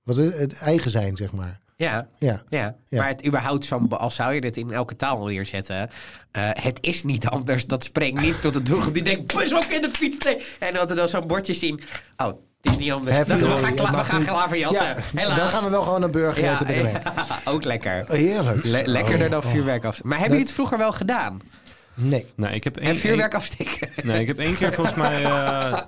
Speaker 1: wat is het, het eigen zijn, zeg maar.
Speaker 3: Ja.
Speaker 1: Ja.
Speaker 3: Ja.
Speaker 1: Ja.
Speaker 3: maar het überhaupt zo, als zou je het in elke taal neerzetten, eh, het is niet anders. Dat spreekt niet tot het doelgroep die denkt, bus ook in de fiets. nee." En dat er dan zo'n bordje zien, oh, het is niet anders.
Speaker 1: Heavy
Speaker 3: Dan, we
Speaker 1: lorry,
Speaker 3: gaan, kla-
Speaker 1: het
Speaker 3: we
Speaker 1: mag
Speaker 3: gaan
Speaker 1: niet.
Speaker 3: klaverjassen,
Speaker 1: Ja,
Speaker 3: helaas.
Speaker 1: Dan gaan we wel gewoon een burger uit de
Speaker 3: ja,
Speaker 1: Beek.
Speaker 3: ja, ook lekker.
Speaker 1: Heerlijk.
Speaker 3: Le- lekkerder dan
Speaker 1: Oh.
Speaker 3: vuurwerk afsteken. Maar hebben jullie het vroeger wel gedaan?
Speaker 1: Nee.
Speaker 2: Nee, Nou, ik heb één,
Speaker 3: En vuurwerk afsteken?
Speaker 2: één- nee, ik heb één keer volgens mij eh,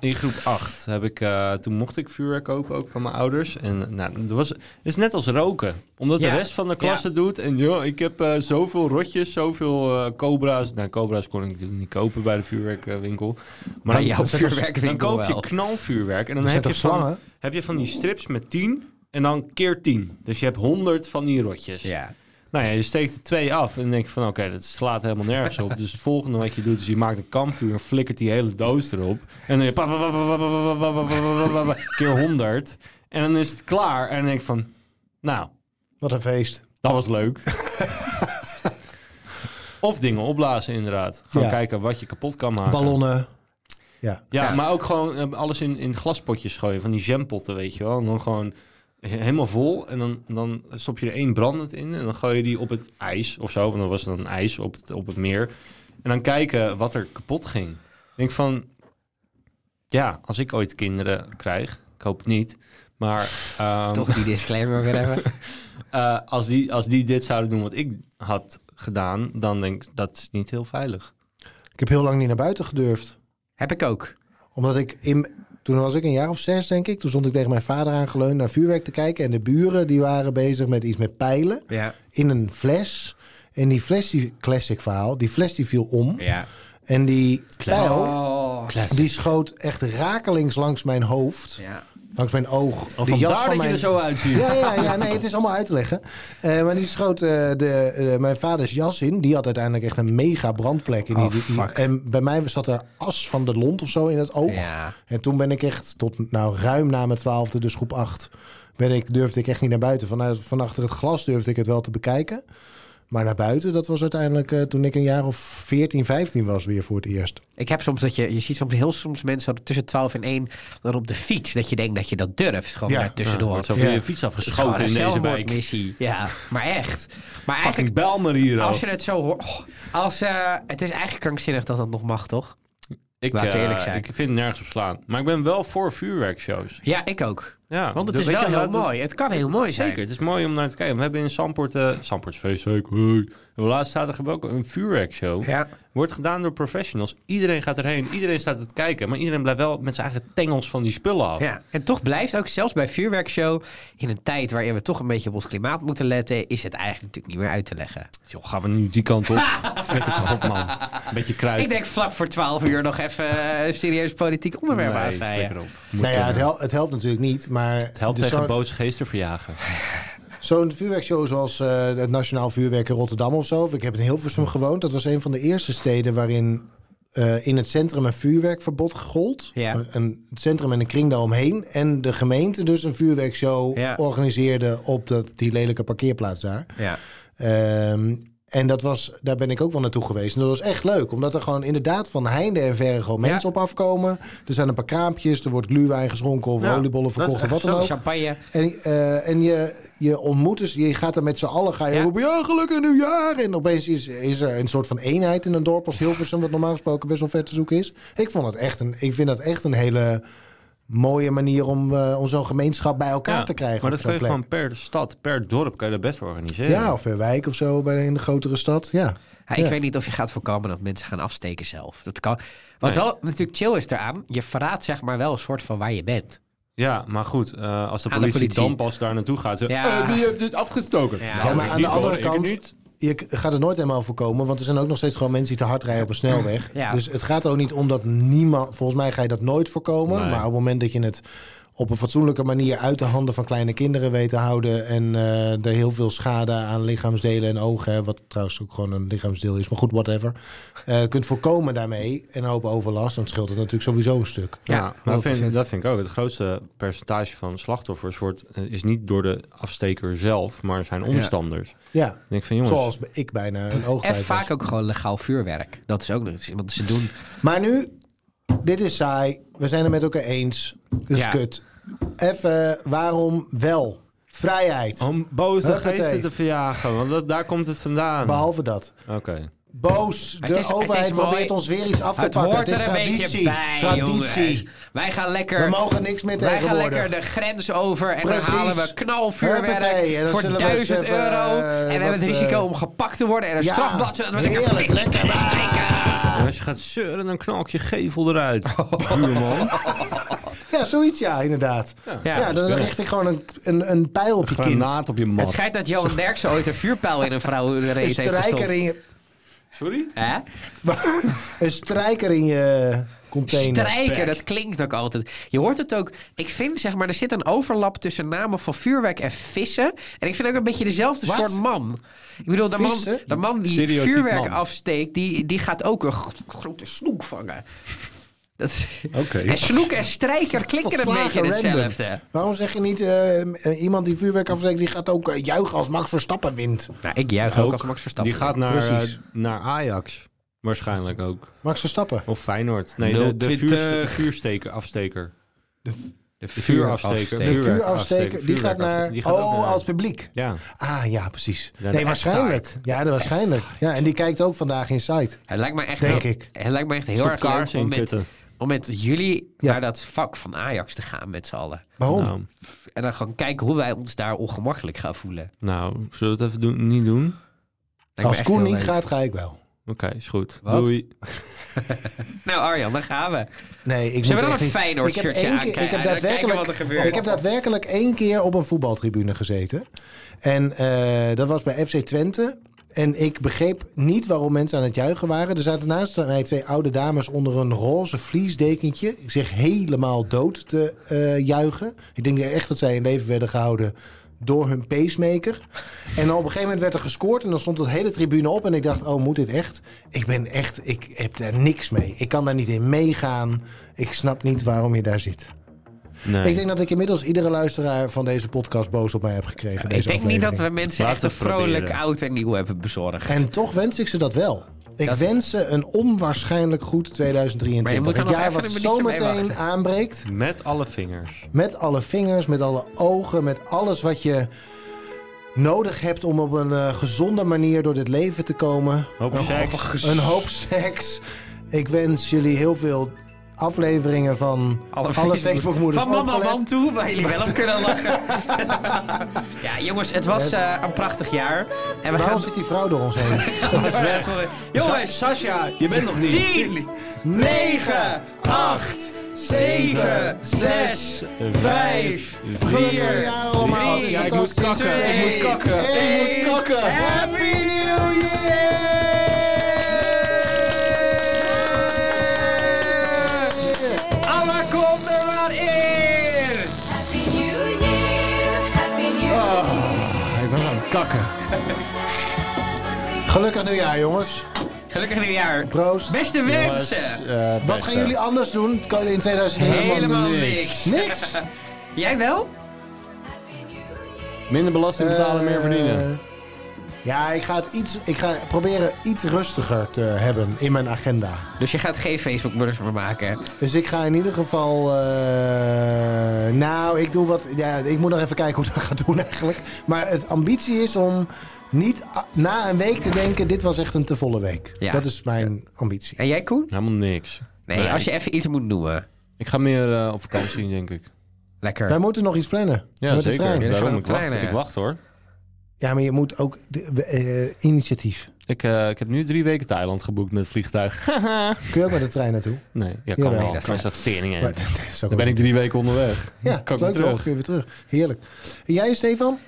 Speaker 2: in groep 8 heb ik, eh, toen mocht ik vuurwerk kopen ook van mijn ouders. En nou, dat was, het is net als roken. Omdat
Speaker 3: Ja.
Speaker 2: de rest van de klas
Speaker 3: Ja.
Speaker 2: het doet. En joh, ik heb eh, zoveel rotjes, zoveel eh, cobra's. Nou, cobra's kon ik natuurlijk niet kopen bij de vuurwerkwinkel. Maar
Speaker 3: Bij
Speaker 2: dan,
Speaker 3: jouw
Speaker 2: koop- dan
Speaker 3: vuurwerkwinkel
Speaker 2: koop je
Speaker 3: wel.
Speaker 2: knalvuurwerk. En dan
Speaker 1: Er zijn
Speaker 2: heb
Speaker 1: toch
Speaker 2: je, van,
Speaker 1: slangen?
Speaker 2: heb je van die strips met 10 en dan keer 10. Dus je hebt 100 van die rotjes.
Speaker 3: Ja.
Speaker 2: Nou ja, je steekt er twee af en dan denk je van oké, dat slaat helemaal nergens op. Dus het volgende wat je doet is je maakt een kampvuur en flikkert die hele doos erop. En dan je pa- pa- pa- pa- pa- pa- pa- pa- pa- pa- pa- keer 100. En dan is het klaar en dan denk ik van nou,
Speaker 1: Wat een feest.
Speaker 2: dat was leuk. Of dingen opblazen inderdaad. Gewoon
Speaker 1: Ja.
Speaker 2: kijken wat je kapot kan maken.
Speaker 1: Ballonnen. Ja.
Speaker 2: Ja, maar ook gewoon eh, alles in, in glaspotjes gooien. Van die jampotten, weet je wel. En dan gewoon he- helemaal vol. En dan, dan stop je er één brandend in. En dan gooi je die op het ijs of zo. Want dan was er dan ijs op het, op het meer. En dan kijken wat er kapot ging. Ik denk van... Ja, als ik ooit kinderen krijg... Ik hoop het niet. Maar ehm,
Speaker 3: Toch die disclaimer weer even.
Speaker 2: eh, als, die, als die dit zouden doen wat ik had gedaan... dan denk ik, dat is niet heel veilig.
Speaker 1: Ik heb heel lang niet naar buiten gedurfd.
Speaker 3: Heb ik ook.
Speaker 1: Omdat ik in. Toen was ik een jaar of zes, denk ik. Toen stond ik tegen mijn vader aangeleund naar vuurwerk te kijken. En de buren die waren bezig met iets met pijlen
Speaker 3: Ja.
Speaker 1: in een fles. En die fles, die classic verhaal, die fles die viel om.
Speaker 3: ja.
Speaker 1: En die pijl,
Speaker 3: Oh.
Speaker 1: die schoot echt rakelings langs mijn hoofd.
Speaker 3: Ja.
Speaker 1: Langs mijn oog.
Speaker 2: Of
Speaker 1: de jas
Speaker 2: vandaar
Speaker 1: van
Speaker 2: dat
Speaker 1: mijn...
Speaker 2: je er zo uitziet.
Speaker 1: Ja, ja, ja, nee, het is allemaal uit te leggen. Eh, maar die schoot eh, de, eh, mijn vaders jas in. Die had uiteindelijk echt een mega brandplek. In die,
Speaker 3: Oh,
Speaker 1: die- die-
Speaker 3: fuck.
Speaker 1: en bij mij zat er as van de lont of zo in het oog.
Speaker 3: Ja.
Speaker 1: En toen ben ik echt tot nou, ruim na mijn twaalfde, dus groep acht... Ben ik, durfde ik echt niet naar buiten. Vanuit, van achter het glas durfde ik het wel te bekijken. Maar naar buiten, dat was uiteindelijk eh, toen ik een jaar of 14, 15 was weer voor het eerst.
Speaker 3: Ik heb soms dat je, je ziet soms heel soms mensen zo tussen 12 en 1 dan op de fiets. Dat je denkt dat je dat durft. Gewoon
Speaker 1: Ja.
Speaker 2: Tussendoor
Speaker 3: daar tussendoor.
Speaker 2: wordt zo
Speaker 1: Ja.
Speaker 2: weer je fiets afgeschoten in deze wijk.
Speaker 3: missie. Ja, maar echt. Maar
Speaker 2: Fucking
Speaker 3: eigenlijk,
Speaker 2: bel me hier
Speaker 3: als je het zo hoort. oh, als, eh, het is eigenlijk krankzinnig dat dat nog mag, toch?
Speaker 2: Ik,
Speaker 3: Laten we
Speaker 2: eh,
Speaker 3: eerlijk zijn.
Speaker 2: ik vind nergens op slaan. Maar ik ben wel voor vuurwerkshows.
Speaker 3: Ja, ik ook.
Speaker 2: Ja,
Speaker 3: Want het
Speaker 2: dus
Speaker 3: is
Speaker 2: weet
Speaker 3: wel
Speaker 2: je,
Speaker 3: heel
Speaker 2: laat het-
Speaker 3: mooi. Het kan heel mooi zijn.
Speaker 2: Zeker, het is mooi om naar te kijken. We hebben in Zandpoort, eh Zandpoort's feestweek, hey. hebben we laatst zaterdag hebben we ook een vuurwerkshow.
Speaker 3: Ja.
Speaker 2: Wordt gedaan door professionals. Iedereen gaat erheen, iedereen staat het kijken. Maar iedereen blijft wel met zijn eigen tengels van die spullen af.
Speaker 3: Ja, en toch blijft ook zelfs bij vuurwerkshow, in een tijd waarin we toch een beetje op ons klimaat moeten letten, is het eigenlijk natuurlijk niet meer uit te leggen.
Speaker 2: Joh, gaan we nu die kant op? Flikker toch op, man. Beetje kruid.
Speaker 3: Ik denk vlak voor 12 uur nog even eh, een serieus politiek onderwerp
Speaker 2: nee,
Speaker 3: aansnijden.
Speaker 2: flikker op. Moet,
Speaker 1: Nou ja,
Speaker 2: eh,
Speaker 1: het, hel- het helpt natuurlijk niet, maar...
Speaker 2: het helpt
Speaker 1: dus
Speaker 2: tegen
Speaker 1: zo'n-
Speaker 2: boze geesten verjagen.
Speaker 1: Zo'n vuurwerkshow zoals eh, het Nationaal Vuurwerk in Rotterdam of zo. of Ik heb in Hilversum gewoond. Dat was een van de eerste steden waarin eh, in het centrum een vuurwerkverbod gold.
Speaker 3: Ja.
Speaker 1: Een, het centrum en een kring daaromheen. En de gemeente dus een vuurwerkshow
Speaker 3: Ja.
Speaker 1: organiseerde op dat, die lelijke parkeerplaats daar.
Speaker 3: Ja.
Speaker 1: Ehm, en dat was, daar ben ik ook wel naartoe geweest. En dat was echt leuk, omdat er gewoon inderdaad van heinde en verre gewoon
Speaker 3: Ja.
Speaker 1: mensen op afkomen. Er zijn een paar kraampjes, er wordt gluwijn geschonken of
Speaker 2: Ja,
Speaker 1: oliebollen
Speaker 2: dat is
Speaker 1: verkocht of wat
Speaker 2: echt
Speaker 1: dan
Speaker 2: zo.
Speaker 1: ook.
Speaker 3: Champagne.
Speaker 1: En, eh, en je, je ontmoet dus, je gaat er met z'n allen, ga je
Speaker 3: Ja.
Speaker 1: roepen, ja, gelukkig nieuwjaar. En opeens is, is er een soort van eenheid in een dorp als Hilversum, wat normaal gesproken best wel ver te zoeken is. Ik, vond het echt een, ik vind dat echt een hele mooie manier om, eh, om zo'n gemeenschap bij elkaar
Speaker 2: Ja,
Speaker 1: te krijgen
Speaker 2: Maar
Speaker 1: op
Speaker 2: dat kun
Speaker 1: zo'n
Speaker 2: je
Speaker 1: plek.
Speaker 2: gewoon per stad, per dorp kan je dat best wel organiseren.
Speaker 1: Ja, of per wijk of zo, bij in de grotere stad, ja.
Speaker 3: Ja, ik
Speaker 1: Ja.
Speaker 3: weet niet of je gaat voorkomen dat mensen gaan afsteken zelf. Dat kan. Wat
Speaker 2: Nee.
Speaker 3: wel natuurlijk chill is eraan, je verraadt zeg maar wel een soort van waar je bent.
Speaker 2: Ja, maar goed, eh, als de
Speaker 3: Aan de
Speaker 2: politie,
Speaker 3: politie.
Speaker 2: dan pas daar naartoe gaat, ze,
Speaker 3: Ja.
Speaker 2: "Eh, wie heeft dit afgestoken?
Speaker 3: Ja.
Speaker 2: Nou,
Speaker 3: Ja,
Speaker 1: maar
Speaker 2: ik
Speaker 1: aan
Speaker 2: niet,
Speaker 1: de andere
Speaker 2: hoor, ik
Speaker 1: kant-
Speaker 2: niet.
Speaker 1: Je k- gaat het nooit helemaal voorkomen, want er zijn ook nog steeds gewoon mensen die te hard rijden op een snelweg.
Speaker 3: Ja.
Speaker 1: Dus het gaat er ook niet om dat niemand. Volgens mij ga je dat nooit voorkomen.
Speaker 2: Nee.
Speaker 1: Maar op het moment dat je het op een fatsoenlijke manier uit de handen van kleine kinderen weet te houden. en eh, er heel veel schade aan lichaamsdelen en ogen. hè, wat trouwens ook gewoon een lichaamsdeel is, maar goed, whatever. eh, kunt voorkomen daarmee en een hoop overlast, dan scheelt het natuurlijk sowieso een stuk.
Speaker 2: Ja,
Speaker 3: Ja,
Speaker 2: maar dat
Speaker 3: 100%.
Speaker 2: vind, dat vind ik ook. Het grootste percentage van slachtoffers wordt, eh, is niet door de afsteker zelf, maar zijn omstanders.
Speaker 1: Ja,
Speaker 2: Ik denk van jongens,
Speaker 1: zoals ik bijna een oog
Speaker 3: En vaak ook gewoon legaal vuurwerk. Dat is ook nog iets. Want ze doen.
Speaker 1: Maar nu, dit is saai. We zijn het met elkaar eens. Dit is
Speaker 3: Ja.
Speaker 1: kut. Even, waarom wel? Vrijheid.
Speaker 3: Oh.
Speaker 2: om boze
Speaker 1: Huppatee.
Speaker 2: geesten te verjagen, want dat, daar komt het vandaan.
Speaker 1: Behalve dat.
Speaker 2: Oké.
Speaker 1: Boos. De
Speaker 3: Het is- het
Speaker 1: overheid
Speaker 3: is mooi.
Speaker 1: probeert ons weer iets af te
Speaker 3: Het
Speaker 1: pakken.
Speaker 3: hoort
Speaker 1: Het is
Speaker 3: er een beetje
Speaker 1: traditie.
Speaker 3: bij.
Speaker 1: traditie.
Speaker 3: jongens. Wij gaan lekker.
Speaker 1: We mogen niks meer
Speaker 3: Wij gaan
Speaker 1: tegenwoordig.
Speaker 3: lekker de grens over en
Speaker 1: Precies.
Speaker 3: dan halen we
Speaker 1: Huppatee, en
Speaker 3: knalvuurwerk
Speaker 1: dan
Speaker 3: voor
Speaker 1: zullen we eens
Speaker 3: 1000
Speaker 1: even,
Speaker 3: euro.
Speaker 1: eh,
Speaker 3: en we
Speaker 1: wat,
Speaker 3: hebben het risico
Speaker 1: eh,
Speaker 3: om gepakt te worden en een
Speaker 1: ja,
Speaker 3: strafblad. Zodat we
Speaker 1: heerlijk.
Speaker 3: lekker flikken met drinken.
Speaker 2: En als je gaat zeuren, dan knal ik je gevel eruit. Buurman.
Speaker 1: Ja, zoiets ja, inderdaad. Ja, dan richt ik gewoon een, een, een pijl op je kind.
Speaker 2: Granaat op je
Speaker 3: Het
Speaker 2: mat.
Speaker 3: schijnt dat Johan Derksen ooit een vuurpijl in een
Speaker 1: Een
Speaker 3: vrouwenrace heeft
Speaker 1: strijker,
Speaker 3: gestopt.
Speaker 1: in je,
Speaker 2: Sorry?
Speaker 3: Hè?
Speaker 1: een strijker in je container.
Speaker 3: Strijker, dat klinkt ook altijd. Je hoort het ook. Ik vind, zeg maar, er zit een overlap tussen namen van vuurwerk en vissen. En ik vind ook een beetje dezelfde
Speaker 1: Wat?
Speaker 3: soort man. Ik bedoel, de man,
Speaker 1: Vissen?
Speaker 3: de man die
Speaker 2: Stereotyp
Speaker 3: vuurwerk
Speaker 2: man.
Speaker 3: afsteekt, die, die gaat ook een gro- grote snoek vangen. Dat,
Speaker 2: Oké.
Speaker 3: En snoek en strijker klinken een beetje
Speaker 1: Volslagen random.
Speaker 3: hetzelfde.
Speaker 1: Waarom zeg je niet, eh, eh, iemand die vuurwerk afsteekt, die gaat ook eh, juichen als Max Verstappen wint?
Speaker 3: Nou, ik juich ook, als Max Verstappen.
Speaker 2: Die gaat naar,
Speaker 1: Precies.
Speaker 2: eh, naar Ajax. Waarschijnlijk ook.
Speaker 1: Max Verstappen.
Speaker 2: Of Feyenoord. Nee, de, de
Speaker 3: 020.
Speaker 2: vuurste- vuursteker, afsteker.
Speaker 3: de
Speaker 2: vuurafsteker.
Speaker 1: De
Speaker 2: Vuurwerk
Speaker 1: vuurafsteker,
Speaker 2: afsteken,
Speaker 1: die gaat
Speaker 2: vuurwerk
Speaker 1: naar...
Speaker 2: afsteken. Die gaat ook
Speaker 1: oh,
Speaker 2: naar-
Speaker 1: als publiek.
Speaker 2: Ja.
Speaker 1: Ah, ja, precies.
Speaker 2: Ja,
Speaker 1: nee,
Speaker 2: de
Speaker 1: waarschijnlijk. Ja, de waarschijnlijk. Ja, en die kijkt ook vandaag in site.
Speaker 3: Het lijkt me echt,
Speaker 1: Denk
Speaker 3: heel,
Speaker 1: ik.
Speaker 3: Het lijkt me echt heel
Speaker 2: Stop
Speaker 3: erg leuk
Speaker 2: kaarsen
Speaker 3: om
Speaker 2: in
Speaker 3: met,
Speaker 2: kutten.
Speaker 3: om met jullie
Speaker 1: Ja.
Speaker 3: naar dat vak van Ajax te gaan met z'n allen.
Speaker 1: Waarom?
Speaker 2: Nou,
Speaker 3: En dan gewoon kijken hoe wij ons daar ongemakkelijk gaan voelen.
Speaker 2: nou, zullen we het even doen, niet doen?
Speaker 3: Lijkt me
Speaker 1: als
Speaker 3: echt
Speaker 1: Koen
Speaker 3: heel
Speaker 1: niet
Speaker 3: leuk.
Speaker 1: gaat, ga ik wel.
Speaker 2: Oké, is goed.
Speaker 3: Wat?
Speaker 2: Doei.
Speaker 3: Nou Arjan, daar gaan we.
Speaker 1: Nee, ik
Speaker 3: Zullen
Speaker 1: moet
Speaker 3: we dan
Speaker 1: echt
Speaker 3: een
Speaker 1: niet-
Speaker 3: Feyenoord
Speaker 1: ik heb
Speaker 3: shirtje
Speaker 1: één keer-
Speaker 3: aankijken
Speaker 1: Ik heb
Speaker 3: en dan kijken
Speaker 1: daadwerkelijk,
Speaker 3: wat er gebeurt?
Speaker 1: ik heb daadwerkelijk één keer op een voetbaltribune gezeten. En eh, dat was bij FC Twente. En ik begreep niet waarom mensen aan het juichen waren. Er zaten naast mij twee oude dames onder een roze vliesdekentje. Zich helemaal dood te eh, juichen. Ik denk echt dat zij in leven werden gehouden door hun pacemaker. En op een gegeven moment werd er gescoord en dan stond het hele tribune op. En ik dacht, oh, moet dit echt? Ik ben echt, ik heb daar niks mee. Ik kan daar niet in meegaan. Ik snap niet waarom je daar zit.
Speaker 5: Nee.
Speaker 1: Ik denk dat ik inmiddels iedere luisteraar van deze podcast boos op mij heb gekregen.
Speaker 3: ik
Speaker 1: deze
Speaker 3: denk niet dat
Speaker 1: aflevering.
Speaker 3: we mensen
Speaker 5: Laten
Speaker 3: echt een
Speaker 5: we het
Speaker 3: vrolijk
Speaker 5: proberen.
Speaker 3: oud en nieuw hebben bezorgd.
Speaker 1: En toch wens ik ze dat wel. Ik
Speaker 3: Dat-
Speaker 1: wens ze een onwaarschijnlijk goed
Speaker 3: Maar je
Speaker 1: 2023.
Speaker 3: moet er
Speaker 1: Het
Speaker 3: nog
Speaker 1: jaar
Speaker 3: even
Speaker 1: wat
Speaker 3: een minuutje mee
Speaker 1: zometeen
Speaker 3: wachten.
Speaker 1: aanbreekt.
Speaker 2: Met alle vingers.
Speaker 1: Met alle vingers, met alle ogen, met alles wat je nodig hebt om op een eh, gezonde manier door dit leven te komen.
Speaker 5: Hoop
Speaker 1: een,
Speaker 5: seks.
Speaker 1: een hoop seks. Ik wens jullie heel veel afleveringen van alle, Facebookmoeders.
Speaker 3: Van mama
Speaker 1: opgelet.
Speaker 3: man toe, waar jullie wel om kunnen lachen. ja, jongens, het was
Speaker 1: Yes. Nou,
Speaker 3: eh, een prachtig jaar. En we
Speaker 1: Waarom
Speaker 3: gaan...
Speaker 1: zit die vrouw door ons heen?
Speaker 3: Jongens,
Speaker 2: Sascha, je bent nog niet.
Speaker 3: 10, 9, 8, 7, 6, 5, 4,
Speaker 1: jaar allemaal. Het is
Speaker 2: Ja, ik moet
Speaker 1: fantastisch.
Speaker 2: kakken. Ik moet kakken. Ik moet kakken.
Speaker 3: Happy New Year! Alle kom er maar in!
Speaker 6: Happy New Year, Happy New
Speaker 2: Ik was aan het kakken.
Speaker 1: Gelukkig nieuwjaar, jongens.
Speaker 3: Gelukkig nieuwjaar.
Speaker 1: Proost. Eh,
Speaker 3: Beste wensen!
Speaker 1: Wat gaan jullie anders doen in 2023?
Speaker 3: Helemaal niks.
Speaker 1: Niks.
Speaker 3: Jij wel?
Speaker 2: Minder belasting betalen,
Speaker 1: Eh,
Speaker 2: meer verdienen.
Speaker 1: Ja, ik ga, het iets, ik ga proberen iets rustiger te hebben in mijn agenda.
Speaker 3: Dus je gaat geen Facebook-moeders meer maken.
Speaker 1: Dus ik ga in ieder geval. eh, nou, ik doe wat. Ja, ik moet nog even kijken hoe ik dat ga doen eigenlijk. Maar het ambitie is om niet a- na een week te denken: dit was echt een te volle week.
Speaker 3: Ja.
Speaker 1: Dat is mijn ambitie.
Speaker 3: En jij, Koen?
Speaker 2: Helemaal niks.
Speaker 3: Nee, als je even iets moet noemen.
Speaker 2: Ik ga meer eh, op vakantie, denk ik.
Speaker 3: Lekker.
Speaker 1: Wij moeten nog iets plannen.
Speaker 2: Ja,
Speaker 1: met de
Speaker 2: zeker.
Speaker 1: trein.
Speaker 2: Daarom,
Speaker 3: Gewoon
Speaker 2: ik wacht,
Speaker 3: treinen.
Speaker 2: ik wacht hoor.
Speaker 1: Ja, maar je moet ook de- we- eh, initiatief.
Speaker 2: Ik, eh, ik heb nu drie weken Thailand geboekt met vliegtuig.
Speaker 1: Kun je ook met de trein naartoe?
Speaker 2: Nee, ja,
Speaker 1: Jawel.
Speaker 2: kan
Speaker 1: Nee,
Speaker 2: wel.
Speaker 1: dat
Speaker 2: Kan is dat tering
Speaker 1: Maar
Speaker 2: in.
Speaker 1: dat is ook
Speaker 2: Dan ben ik drie weken onderweg.
Speaker 1: Ja,
Speaker 2: kan ik weer
Speaker 1: leuk wel.
Speaker 2: terug.
Speaker 1: Kun je weer terug. Heerlijk. En jij, Stefan?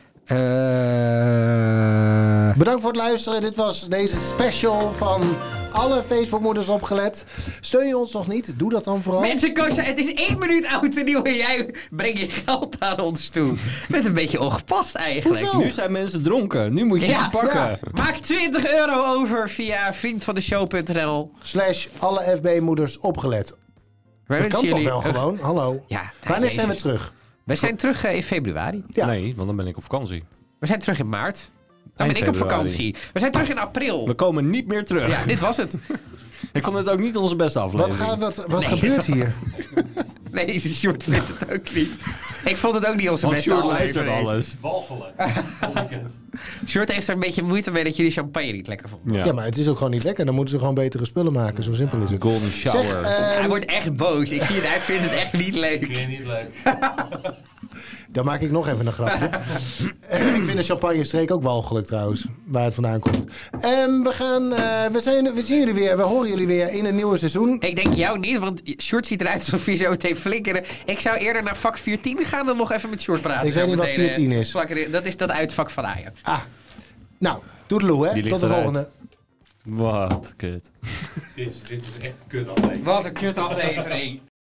Speaker 3: Eh,
Speaker 1: Bedankt voor het luisteren. Dit was deze special van alle Facebookmoeders opgelet. Steun je ons nog niet? Doe dat dan
Speaker 2: Oh.
Speaker 1: vooral.
Speaker 3: Mensen, Koos, het is één minuut oud en nieuw en jij brengt je geld aan ons toe. Met een beetje ongepast eigenlijk.
Speaker 2: Nu zijn mensen dronken. Nu moet je
Speaker 3: Ja,
Speaker 2: ze pakken.
Speaker 1: ja.
Speaker 3: Maak 20 euro over via vriendvandeshow.nl.
Speaker 1: Slash alle FB-moeders opgelet.
Speaker 3: Wij
Speaker 1: Dat
Speaker 3: wensen
Speaker 1: kan toch
Speaker 3: jullie
Speaker 1: wel
Speaker 3: een-
Speaker 1: gewoon? Hallo.
Speaker 3: Ja,
Speaker 1: Wanneer
Speaker 3: jezus.
Speaker 1: zijn we terug?
Speaker 3: We zijn terug eh, in februari.
Speaker 1: Ja.
Speaker 2: Nee, want dan ben ik op vakantie.
Speaker 3: We zijn terug in maart. Dan
Speaker 2: Eind
Speaker 3: ben ik op
Speaker 2: februari.
Speaker 3: vakantie. We zijn terug in april.
Speaker 2: We komen niet meer terug.
Speaker 3: Ja, dit was het.
Speaker 2: Ik vond het ook niet onze beste
Speaker 1: Wat,
Speaker 2: aflevering.
Speaker 1: gaat, wat, wat
Speaker 3: Nee.
Speaker 1: gebeurt hier?
Speaker 3: Nee, Sjoerd vindt het ook niet. Ik vond het ook niet onze
Speaker 2: Want
Speaker 3: beste
Speaker 2: Oh, Sjoerd luistert
Speaker 3: aflevering.
Speaker 2: alles.
Speaker 3: Sjoerd heeft er een beetje moeite mee dat jullie champagne niet lekker vonden.
Speaker 1: Ja. maar het is ook gewoon niet lekker. Dan moeten ze gewoon betere spullen maken. Zo simpel is het.
Speaker 2: Golden shower.
Speaker 1: Zeg,
Speaker 3: Hij
Speaker 1: ehm,
Speaker 3: wordt echt boos. Ik zie het, hij vindt het echt niet leuk.
Speaker 1: dan maak ik nog even een grapje. Eh, ik vind de champagne-streek ook walgelijk trouwens. Waar het vandaan komt. Ehm, we, gaan, eh, we, zijn, we zien jullie weer. We horen jullie weer in het nieuwe seizoen.
Speaker 3: Ik denk jou niet, want Sjoerd ziet eruit alsof hij zo meteen flikkeren. Ik zou eerder naar vak 14 gaan dan nog even met Sjoerd praten.
Speaker 1: Ik weet niet wat
Speaker 3: Zometeen, eh,
Speaker 1: 14 is.
Speaker 3: vlak- Dat is dat uitvak van Ajax.
Speaker 1: Ah. Nou, doedeloe hè.
Speaker 2: Die ligt
Speaker 1: Tot de
Speaker 2: eruit.
Speaker 1: volgende.
Speaker 2: Wat kut.
Speaker 7: Dit is, dit is echt kut aflevering.
Speaker 3: Wat een kut aflevering.